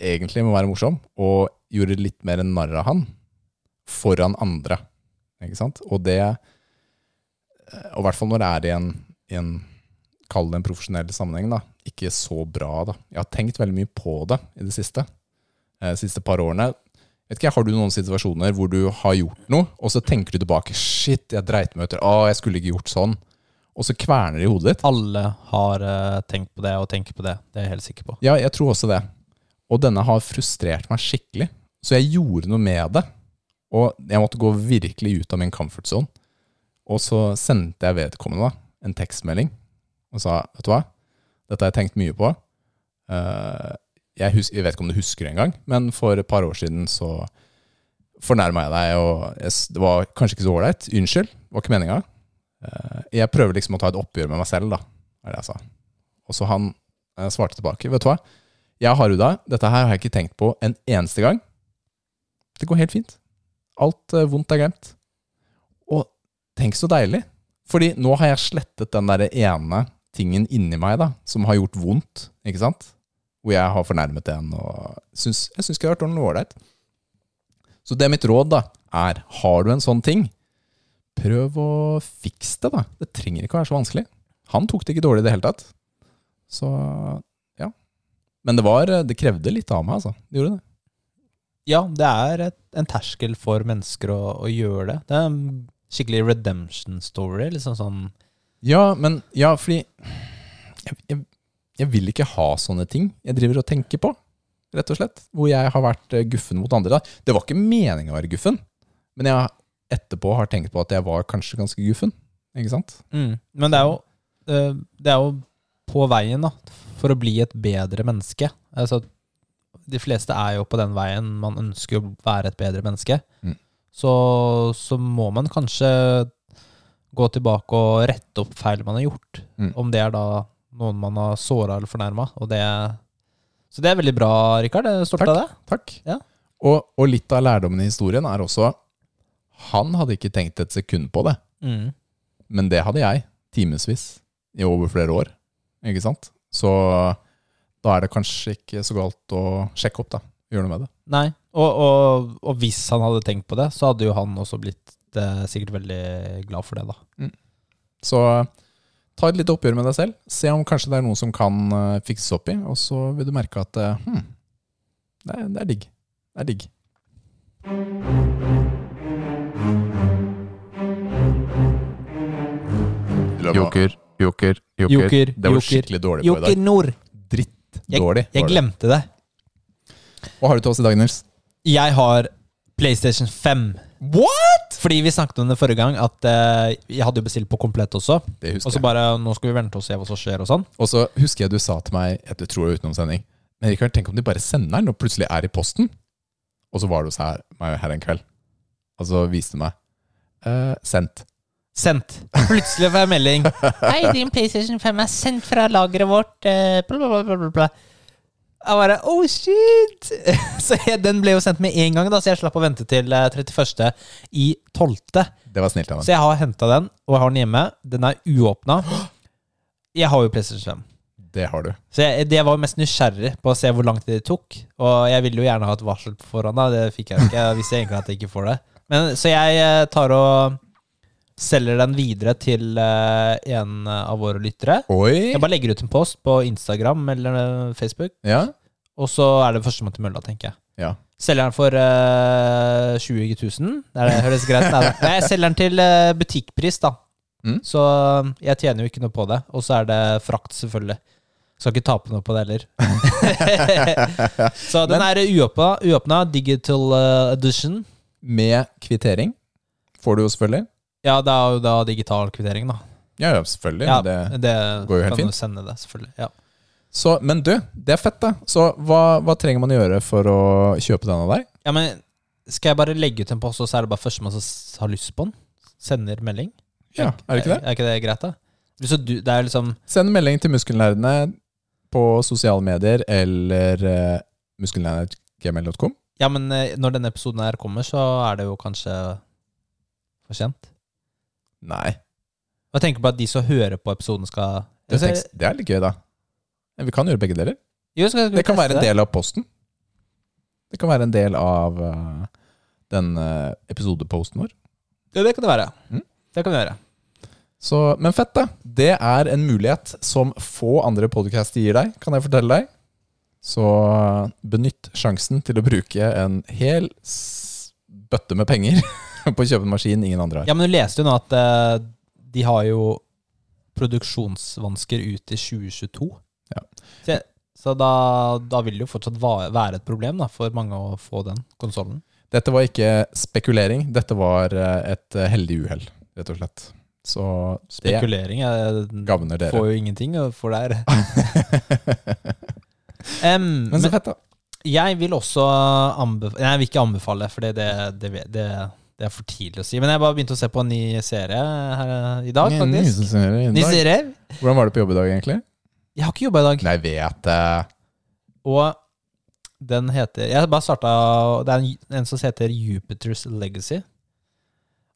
Speaker 2: Egentlig med å være morsom. Og gjorde litt mer narr av han foran andre. Ikke sant? Og det eh, Og i hvert fall når det er i en, i en kall det en profesjonell sammenheng, da, ikke så bra. da. Jeg har tenkt veldig mye på det i det siste. Eh, de siste par årene. Vet ikke, jeg, Har du noen situasjoner hvor du har gjort noe, og så tenker du tilbake Shit, jeg dreit meg ut. Å, jeg skulle ikke gjort sånn. Og så kverner det i hodet ditt.
Speaker 1: Alle har eh, tenkt på det og tenker på det. Det er jeg helt sikker på.
Speaker 2: Ja, jeg tror også det. Og denne har frustrert meg skikkelig. Så jeg gjorde noe med det. Og jeg måtte gå virkelig ut av min comfort zone. Og så sendte jeg vedkommende da, en tekstmelding og sa, vet du hva, dette har jeg tenkt mye på. Eh, Jeg, hus jeg vet ikke om du husker det engang, men for et par år siden så fornærma jeg deg, og jeg, s- det var kanskje ikke så ålreit. Unnskyld, det var ikke meninga. Eh, Jeg prøver liksom å ta et oppgjør med meg selv, da, er det jeg sa. Og så han jeg Eh, svarte tilbake. Vet du hva? Jeg er hardhuda. Dette her har jeg ikke tenkt på en eneste gang. Det går helt fint. Alt eh, vondt er glemt. Og tenk så deilig. Fordi nå har jeg slettet den der ene tingen inni meg da, som har gjort vondt, ikke sant? Hvor jeg har fornærmet en, og syns, jeg syns ikke det har vært ordentlig ålreit. Så det er mitt råd da, er har du en sånn ting, prøv å fikse det da. Det trenger ikke å være så vanskelig. Han tok det ikke dårlig i det hele tatt. Så ja. Men det, var, det krevde litt av meg, altså. Det gjorde det.
Speaker 1: Ja, det er et, en terskel for mennesker å, å gjøre det. Det er en skikkelig redemption story. liksom sånn.
Speaker 2: Ja, men Ja, fordi jeg, jeg, jeg vil ikke ha sånne ting jeg driver og tenker på. rett og slett. Hvor jeg har vært eh, guffen mot andre. Da. Det var ikke meningen å være guffen, men jeg etterpå har tenkt på at jeg var kanskje ganske guffen. Ikke sant?
Speaker 1: Mm. Men det er, jo, eh, det er jo på veien da, for å bli et bedre menneske. Altså, de fleste er jo på den veien man ønsker å være et bedre menneske.
Speaker 2: Mm.
Speaker 1: Så, så må man kanskje gå tilbake og rette opp feil man har gjort.
Speaker 2: Mm.
Speaker 1: Om det er da noen man har såra eller fornærma. Så det er veldig bra, Rikard. Jeg er Stolt av det.
Speaker 2: Takk.
Speaker 1: Ja.
Speaker 2: Og, og litt av lærdommen i historien er også Han hadde ikke tenkt et sekund på det,
Speaker 1: Mm.
Speaker 2: men det hadde jeg. Timevis. I over flere år. Ikke sant? Så da er det kanskje ikke så galt å sjekke opp, da. Gjøre noe med det.
Speaker 1: Nei, og, og, og hvis han hadde tenkt på det, så hadde jo han også blitt eh, sikkert veldig glad for det, da.
Speaker 2: Så ta et lite oppgjør med deg selv. Se om kanskje det er noe som kan eh, fikses opp i, og så vil du merke at eh, hm, det, er, det er digg. Det er digg.
Speaker 4: Joker, joker, joker.
Speaker 1: Joker,
Speaker 2: Det var du
Speaker 1: joker,
Speaker 2: skikkelig dårlig på i
Speaker 1: joker
Speaker 2: dag.
Speaker 1: Nord.
Speaker 2: Dårlig.
Speaker 1: Jeg
Speaker 2: var det.
Speaker 1: glemte det.
Speaker 2: Hva har du til oss i dag, Nils?
Speaker 1: Jeg har PlayStation 5. What?! Fordi vi snakket om det forrige gang, at eh, jeg hadde jo bestilt på komplett også.
Speaker 2: Det
Speaker 1: Og
Speaker 2: husker
Speaker 1: så
Speaker 2: jeg.
Speaker 1: bare Nå skal vi vente og se hva som skjer, og sånn.
Speaker 2: Og så husker jeg du sa til meg Jeg tror det var utenom sending. Men Rikard, tenk om de bare sender den og plutselig er i posten? Og så var du hos her- meg her en kveld, og så viste du meg. eh, sendt.
Speaker 1: Sendt. Plutselig får jeg melding. Hei, din PlayStation 5 er sendt fra lageret vårt. eh, Bla, bla, bla, bla, bla, bla. Jeg bare Oh, shit! Så jeg, den ble jo sendt med en gang, da, så jeg slapp å vente til eh, 31. i 12.
Speaker 2: Det var snilt av
Speaker 1: Så
Speaker 2: henne.
Speaker 1: jeg har henta den, og jeg har den hjemme. Den er uåpna. Jeg har jo PlayStation 5.
Speaker 2: Det har du.
Speaker 1: Så jeg, det var jo mest nysgjerrig på å se hvor lang tid det tok. Og jeg ville jo gjerne ha et varsel på forhånd, da. Det fikk jeg ikke. Hvis jeg egentlig at jeg ikke får det. Men, så jeg eh, tar og selger den videre til eh, en av våre lyttere.
Speaker 2: Oi!
Speaker 1: Jeg bare legger ut en post på Instagram eller eh, Facebook,
Speaker 2: Ja.
Speaker 1: og så er det førstemann til mølla, tenker jeg.
Speaker 2: ja.
Speaker 1: Selger den for eh, 20 000. Er det høres greit ut? Nei, jeg selger den til eh, butikkpris, da.
Speaker 2: Mm.
Speaker 1: Så eh, jeg tjener jo ikke noe på det. Og så er det frakt, selvfølgelig. Skal ikke tape noe på det heller. så den er uåpna, uåpna digital eh, edition.
Speaker 2: Med kvittering får du jo selvfølgelig.
Speaker 1: Ja, det er jo da digital kvittering, da.
Speaker 2: Ja, ja selvfølgelig.
Speaker 1: Ja,
Speaker 2: Det.
Speaker 1: det,
Speaker 2: går jo helt
Speaker 1: kan
Speaker 2: fint.
Speaker 1: du sende det, selvfølgelig. Ja.
Speaker 2: Så, men du, det er fett, da. Så hva, hva trenger man å gjøre for å kjøpe den av deg?
Speaker 1: ja, men skal jeg bare legge ut en post, og så er det bare førstemann som s- har lyst på den? Sender melding?
Speaker 2: Ja, Er det ikke det?
Speaker 1: Er ikke det greit, da? Så du, det er liksom
Speaker 2: Send en melding til muskelnerdene på sosiale medier eller uh, muskelnerdgmail.com.
Speaker 1: Ja, men eh, når denne episoden her kommer, så er det jo kanskje for sent.
Speaker 2: Nei,
Speaker 1: Og Jeg tenker på at de som hører på episoden, skal
Speaker 2: det,
Speaker 1: Altså,
Speaker 2: tenks, det er litt gøy, da. Ja, Vi kan gjøre begge deler.
Speaker 1: jo, skal, skal vi
Speaker 2: Det kan
Speaker 1: teste
Speaker 2: være en del av posten. Det kan være en del av eh, den eh, episodeposten vår.
Speaker 1: Ja, det kan det være.
Speaker 2: Mm.
Speaker 1: Det kan vi gjøre.
Speaker 2: Så, men fett, da. Det er en mulighet som få andre podcaster gir deg, kan jeg fortelle deg. Så benytt sjansen til å bruke en hel s- bøtte med penger på å kjøpe en maskin ingen andre har.
Speaker 1: Ja, men du leste jo nå at eh, de har jo produksjonsvansker ut til 2022.
Speaker 2: Ja.
Speaker 1: Så, jeg- så da, da vil det jo fortsatt va- være et problem da, for mange å få den konsollen.
Speaker 2: Dette var ikke spekulering, dette var eh, et heldig uhell, rett og slett. Så det
Speaker 1: Spekulering jeg,
Speaker 2: gagner dere.
Speaker 1: får jo ingenting og får der. Em,
Speaker 2: Men så fett, da.
Speaker 1: Jeg vil også anbefale Nei, jeg vil ikke anbefale, for det, det, det, det, det er for tidlig å si. Men jeg bare begynte å se på en ny serie her eh, i dag, faktisk.
Speaker 2: Nysesongere i
Speaker 1: Ny
Speaker 2: dag.
Speaker 1: serie?
Speaker 2: Hvordan var det på jobb i dag, egentlig?
Speaker 1: Jeg har ikke jobba i dag.
Speaker 2: Nei, vet eh, det.
Speaker 1: Og den heter Jeg har bare starta Det er en, en som heter Jupiters Legacy.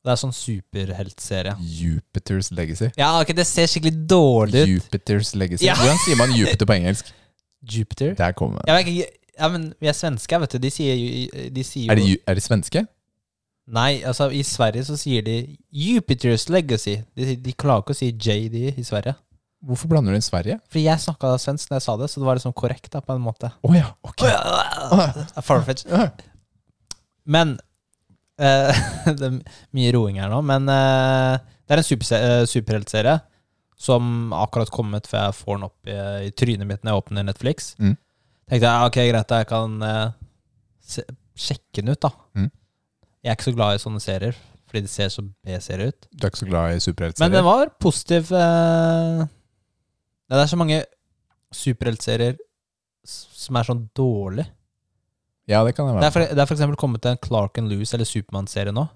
Speaker 1: Det er sånn superheltserie.
Speaker 2: Jupiters legacy.
Speaker 1: Ja, ok, det ser skikkelig dårlig ut.
Speaker 2: Jupiters legacy.
Speaker 1: Ja.
Speaker 2: Hvordan sier man Jupiter på engelsk?
Speaker 1: Jupiter?
Speaker 2: Der kommer
Speaker 1: Jeg vet ikke Ja, men vi er svenske, vet du. De sier, ju- de sier jo
Speaker 2: Er de, ju- er de svenske?
Speaker 1: Nei, altså i Sverige så sier de Jupiters legacy. De, de klarer ikke å si JD i Sverige.
Speaker 2: Hvorfor blander du inn Sverige?
Speaker 1: Fordi jeg snakka svensk når jeg sa det, så det var liksom korrekt da, på en måte.
Speaker 2: Å ja, ok.
Speaker 1: Farfetch. Men eh, Det er mye roing her nå, men eh, det er en superse- eh, superheltserie som akkurat kommet, for jeg får den opp i, i trynet mitt når jeg åpner Netflix.
Speaker 2: Mm.
Speaker 1: tenkte jeg ok, greit, jeg kan eh, se, sjekke den ut, da.
Speaker 2: Mm.
Speaker 1: Jeg er ikke så glad i sånne serier, fordi det ser så B-serier ut.
Speaker 2: Du er ikke så glad i
Speaker 1: Men
Speaker 2: superheltserier?
Speaker 1: den var positiv. Eh, det er så mange superheltserier s- som er sånn dårlig.
Speaker 2: Ja, det kan jeg
Speaker 1: Det
Speaker 2: være.
Speaker 1: er, for, det er for eksempel kommet en Clark and Lewis eller Supermann-serie nå,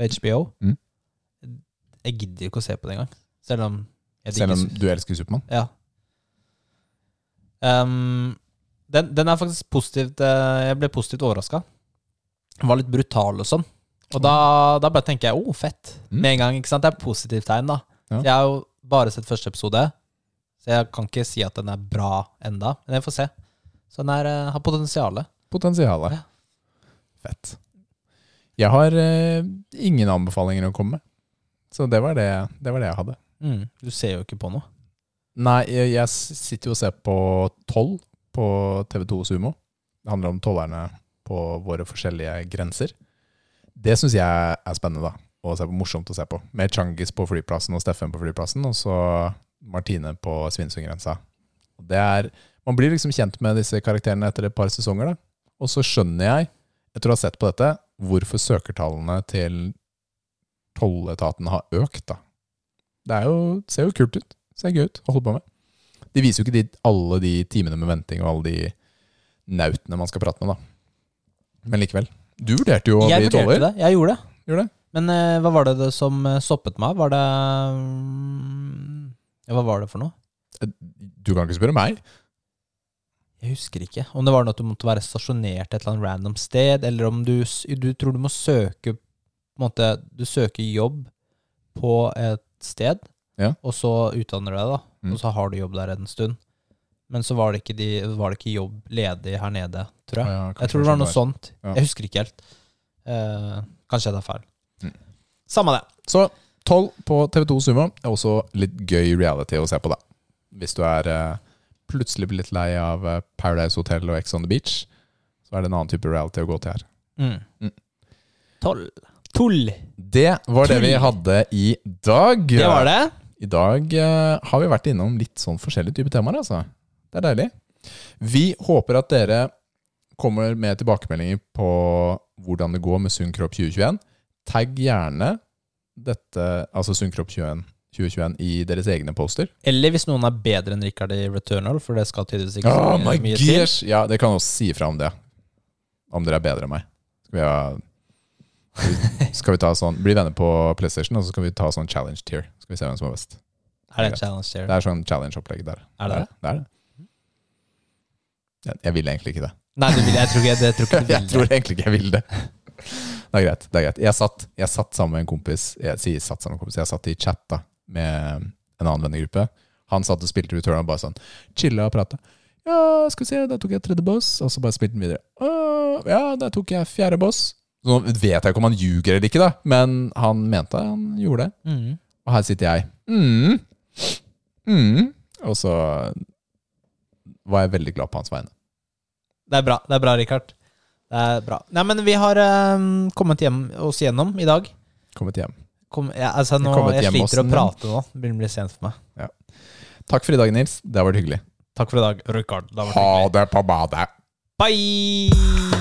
Speaker 1: på HBO.
Speaker 2: Mm.
Speaker 1: Jeg gidder jo ikke å se på det engang, selv om jeg
Speaker 2: Selv om
Speaker 1: digger
Speaker 2: du elsker Supermann.
Speaker 1: Ja. Ehm, den, den er faktisk positivt eh, Jeg ble positivt overraska. Den var litt brutal og sånn. Og da, da bare tenker jeg 'å, fett'.
Speaker 2: Mm.
Speaker 1: Med en gang. ikke sant? Det er positivt tegn, da.
Speaker 2: Ja.
Speaker 1: Jeg har jo bare sett første episode, så jeg kan ikke si at den er bra enda Men jeg får se. Så den er, eh, har potensial.
Speaker 2: Potensialet. Fett. Jeg har eh, ingen anbefalinger å komme med. Så det var det, det var det jeg hadde.
Speaker 1: Mm. Du ser jo ikke på noe.
Speaker 2: Nei, jeg, jeg s- sitter jo og ser på 12 på TV2 Sumo. Det handler om tollerne på våre forskjellige grenser. Det syns jeg er spennende, da. Og se på, morsomt å se på. Med Changis på flyplassen og Steffen på flyplassen, og så Martine på Svinesundgrensa. Og Det er, man blir liksom kjent med disse karakterene etter et par sesonger, da. Og så skjønner jeg, etter å ha sett på dette, hvorfor søkertallene til tolletaten har økt, da. Det er jo, ser jo kult ut. Ser gøy ut å holde på med. De viser jo ikke de, alle de timene med venting og alle de nautene man skal prate med, da. Men likevel. Du vurderte jo å
Speaker 1: Jeg
Speaker 2: bli
Speaker 1: vurderte
Speaker 2: toller.
Speaker 1: det. Jeg gjorde det.
Speaker 2: Gjorde det?
Speaker 1: Men eh, hva var det, det som eh, stoppet meg? Var det mm, ja, Hva var det for noe?
Speaker 2: Du kan ikke spørre meg.
Speaker 1: Jeg husker ikke. Om det var noe at du måtte være stasjonert et eller annet random sted, eller om du, s- du tror du må søke på en måte, Du søker jobb på et sted,
Speaker 2: Ja.
Speaker 1: og så utdanner du deg, da.
Speaker 2: Mm.
Speaker 1: Og så har du jobb der en stund. Men så var det ikke, de, var det ikke jobb ledig her nede, tror jeg.
Speaker 2: Ah, ja, kanskje
Speaker 1: Jeg tror det var noe
Speaker 2: sånn
Speaker 1: sånt.
Speaker 2: Ja.
Speaker 1: Jeg husker ikke helt. Eh, kanskje jeg tar feil.
Speaker 2: Mm.
Speaker 1: Samme det.
Speaker 2: Så 12 på TV2 Sumo er også litt gøy reality å se på, da. Hvis du er eh, plutselig blir litt lei av eh, Paradise Hotel og Ex on the Beach, så er det en annen type reality å gå til her. Mm.
Speaker 1: Toll. Tull.
Speaker 2: Det var det vi hadde i dag.
Speaker 1: Det var det.
Speaker 2: I dag eh, har vi vært innom litt sånn forskjellige typer temaer, altså. Det er deilig. Vi håper at dere kommer med tilbakemeldinger på hvordan det går med Sunn kropp 2021. Tagg gjerne dette, altså Sunn kropp 21 2021 i deres egne poster.
Speaker 1: Eller hvis noen er bedre enn Rikard i Returnal, for det skal tydeligvis ikke
Speaker 2: Oh
Speaker 1: så
Speaker 2: my
Speaker 1: mye til.
Speaker 2: gosh! Ja, dere kan også si ifra om det. Om dere er bedre enn meg. Skal vi, ha, skal vi ta sånn, bli venner på PlayStation, og så skal vi ta sånn challenge tier. Skal vi se hvem som er best.
Speaker 1: Er det en challenge
Speaker 2: Det
Speaker 1: there?
Speaker 2: er sånn challenge-opplegg der.
Speaker 1: Er det det?
Speaker 2: Det er det. Jeg, jeg vil egentlig ikke det.
Speaker 1: Nei, du vil, jeg tror ikke, det tror ikke du
Speaker 2: Jeg
Speaker 1: vil.
Speaker 2: tror
Speaker 1: det.
Speaker 2: egentlig ikke jeg vil det. Det er greit. det er greit. Jeg satt, jeg satt sammen med en kompis Jeg sier satt sammen med en kompis Jeg satt i chat da med en annen vennegruppe. Han satt og spilte Return og bare sånn chilla og prata. Ja, skal vi se, der tok jeg tredje boss, og så bare spilte han videre. «Å, ja, der tok jeg fjerde boss. Så nå vet jeg ikke om han ljuger eller ikke, da men han mente han gjorde det.
Speaker 1: Mm.
Speaker 2: Og her sitter jeg. Mm. Mm. Og så var jeg veldig glad på hans vegne.
Speaker 1: Det er bra, det er bra, Rikard. Det er bra. Nei, men vi har eh, kommet hjem oss gjennom i dag.
Speaker 2: Kommet hjem.
Speaker 1: Kom, ja, altså, nå,
Speaker 2: kommet
Speaker 1: jeg
Speaker 2: hjem oss
Speaker 1: sliter å
Speaker 2: nå.
Speaker 1: prate nå. Det begynner å bli sent for meg.
Speaker 2: Takk for i dag, Nils. Det har vært hyggelig.
Speaker 1: Takk for i dag, Rikard. Det har vært
Speaker 2: det på badet.
Speaker 1: hyggelig. Bye!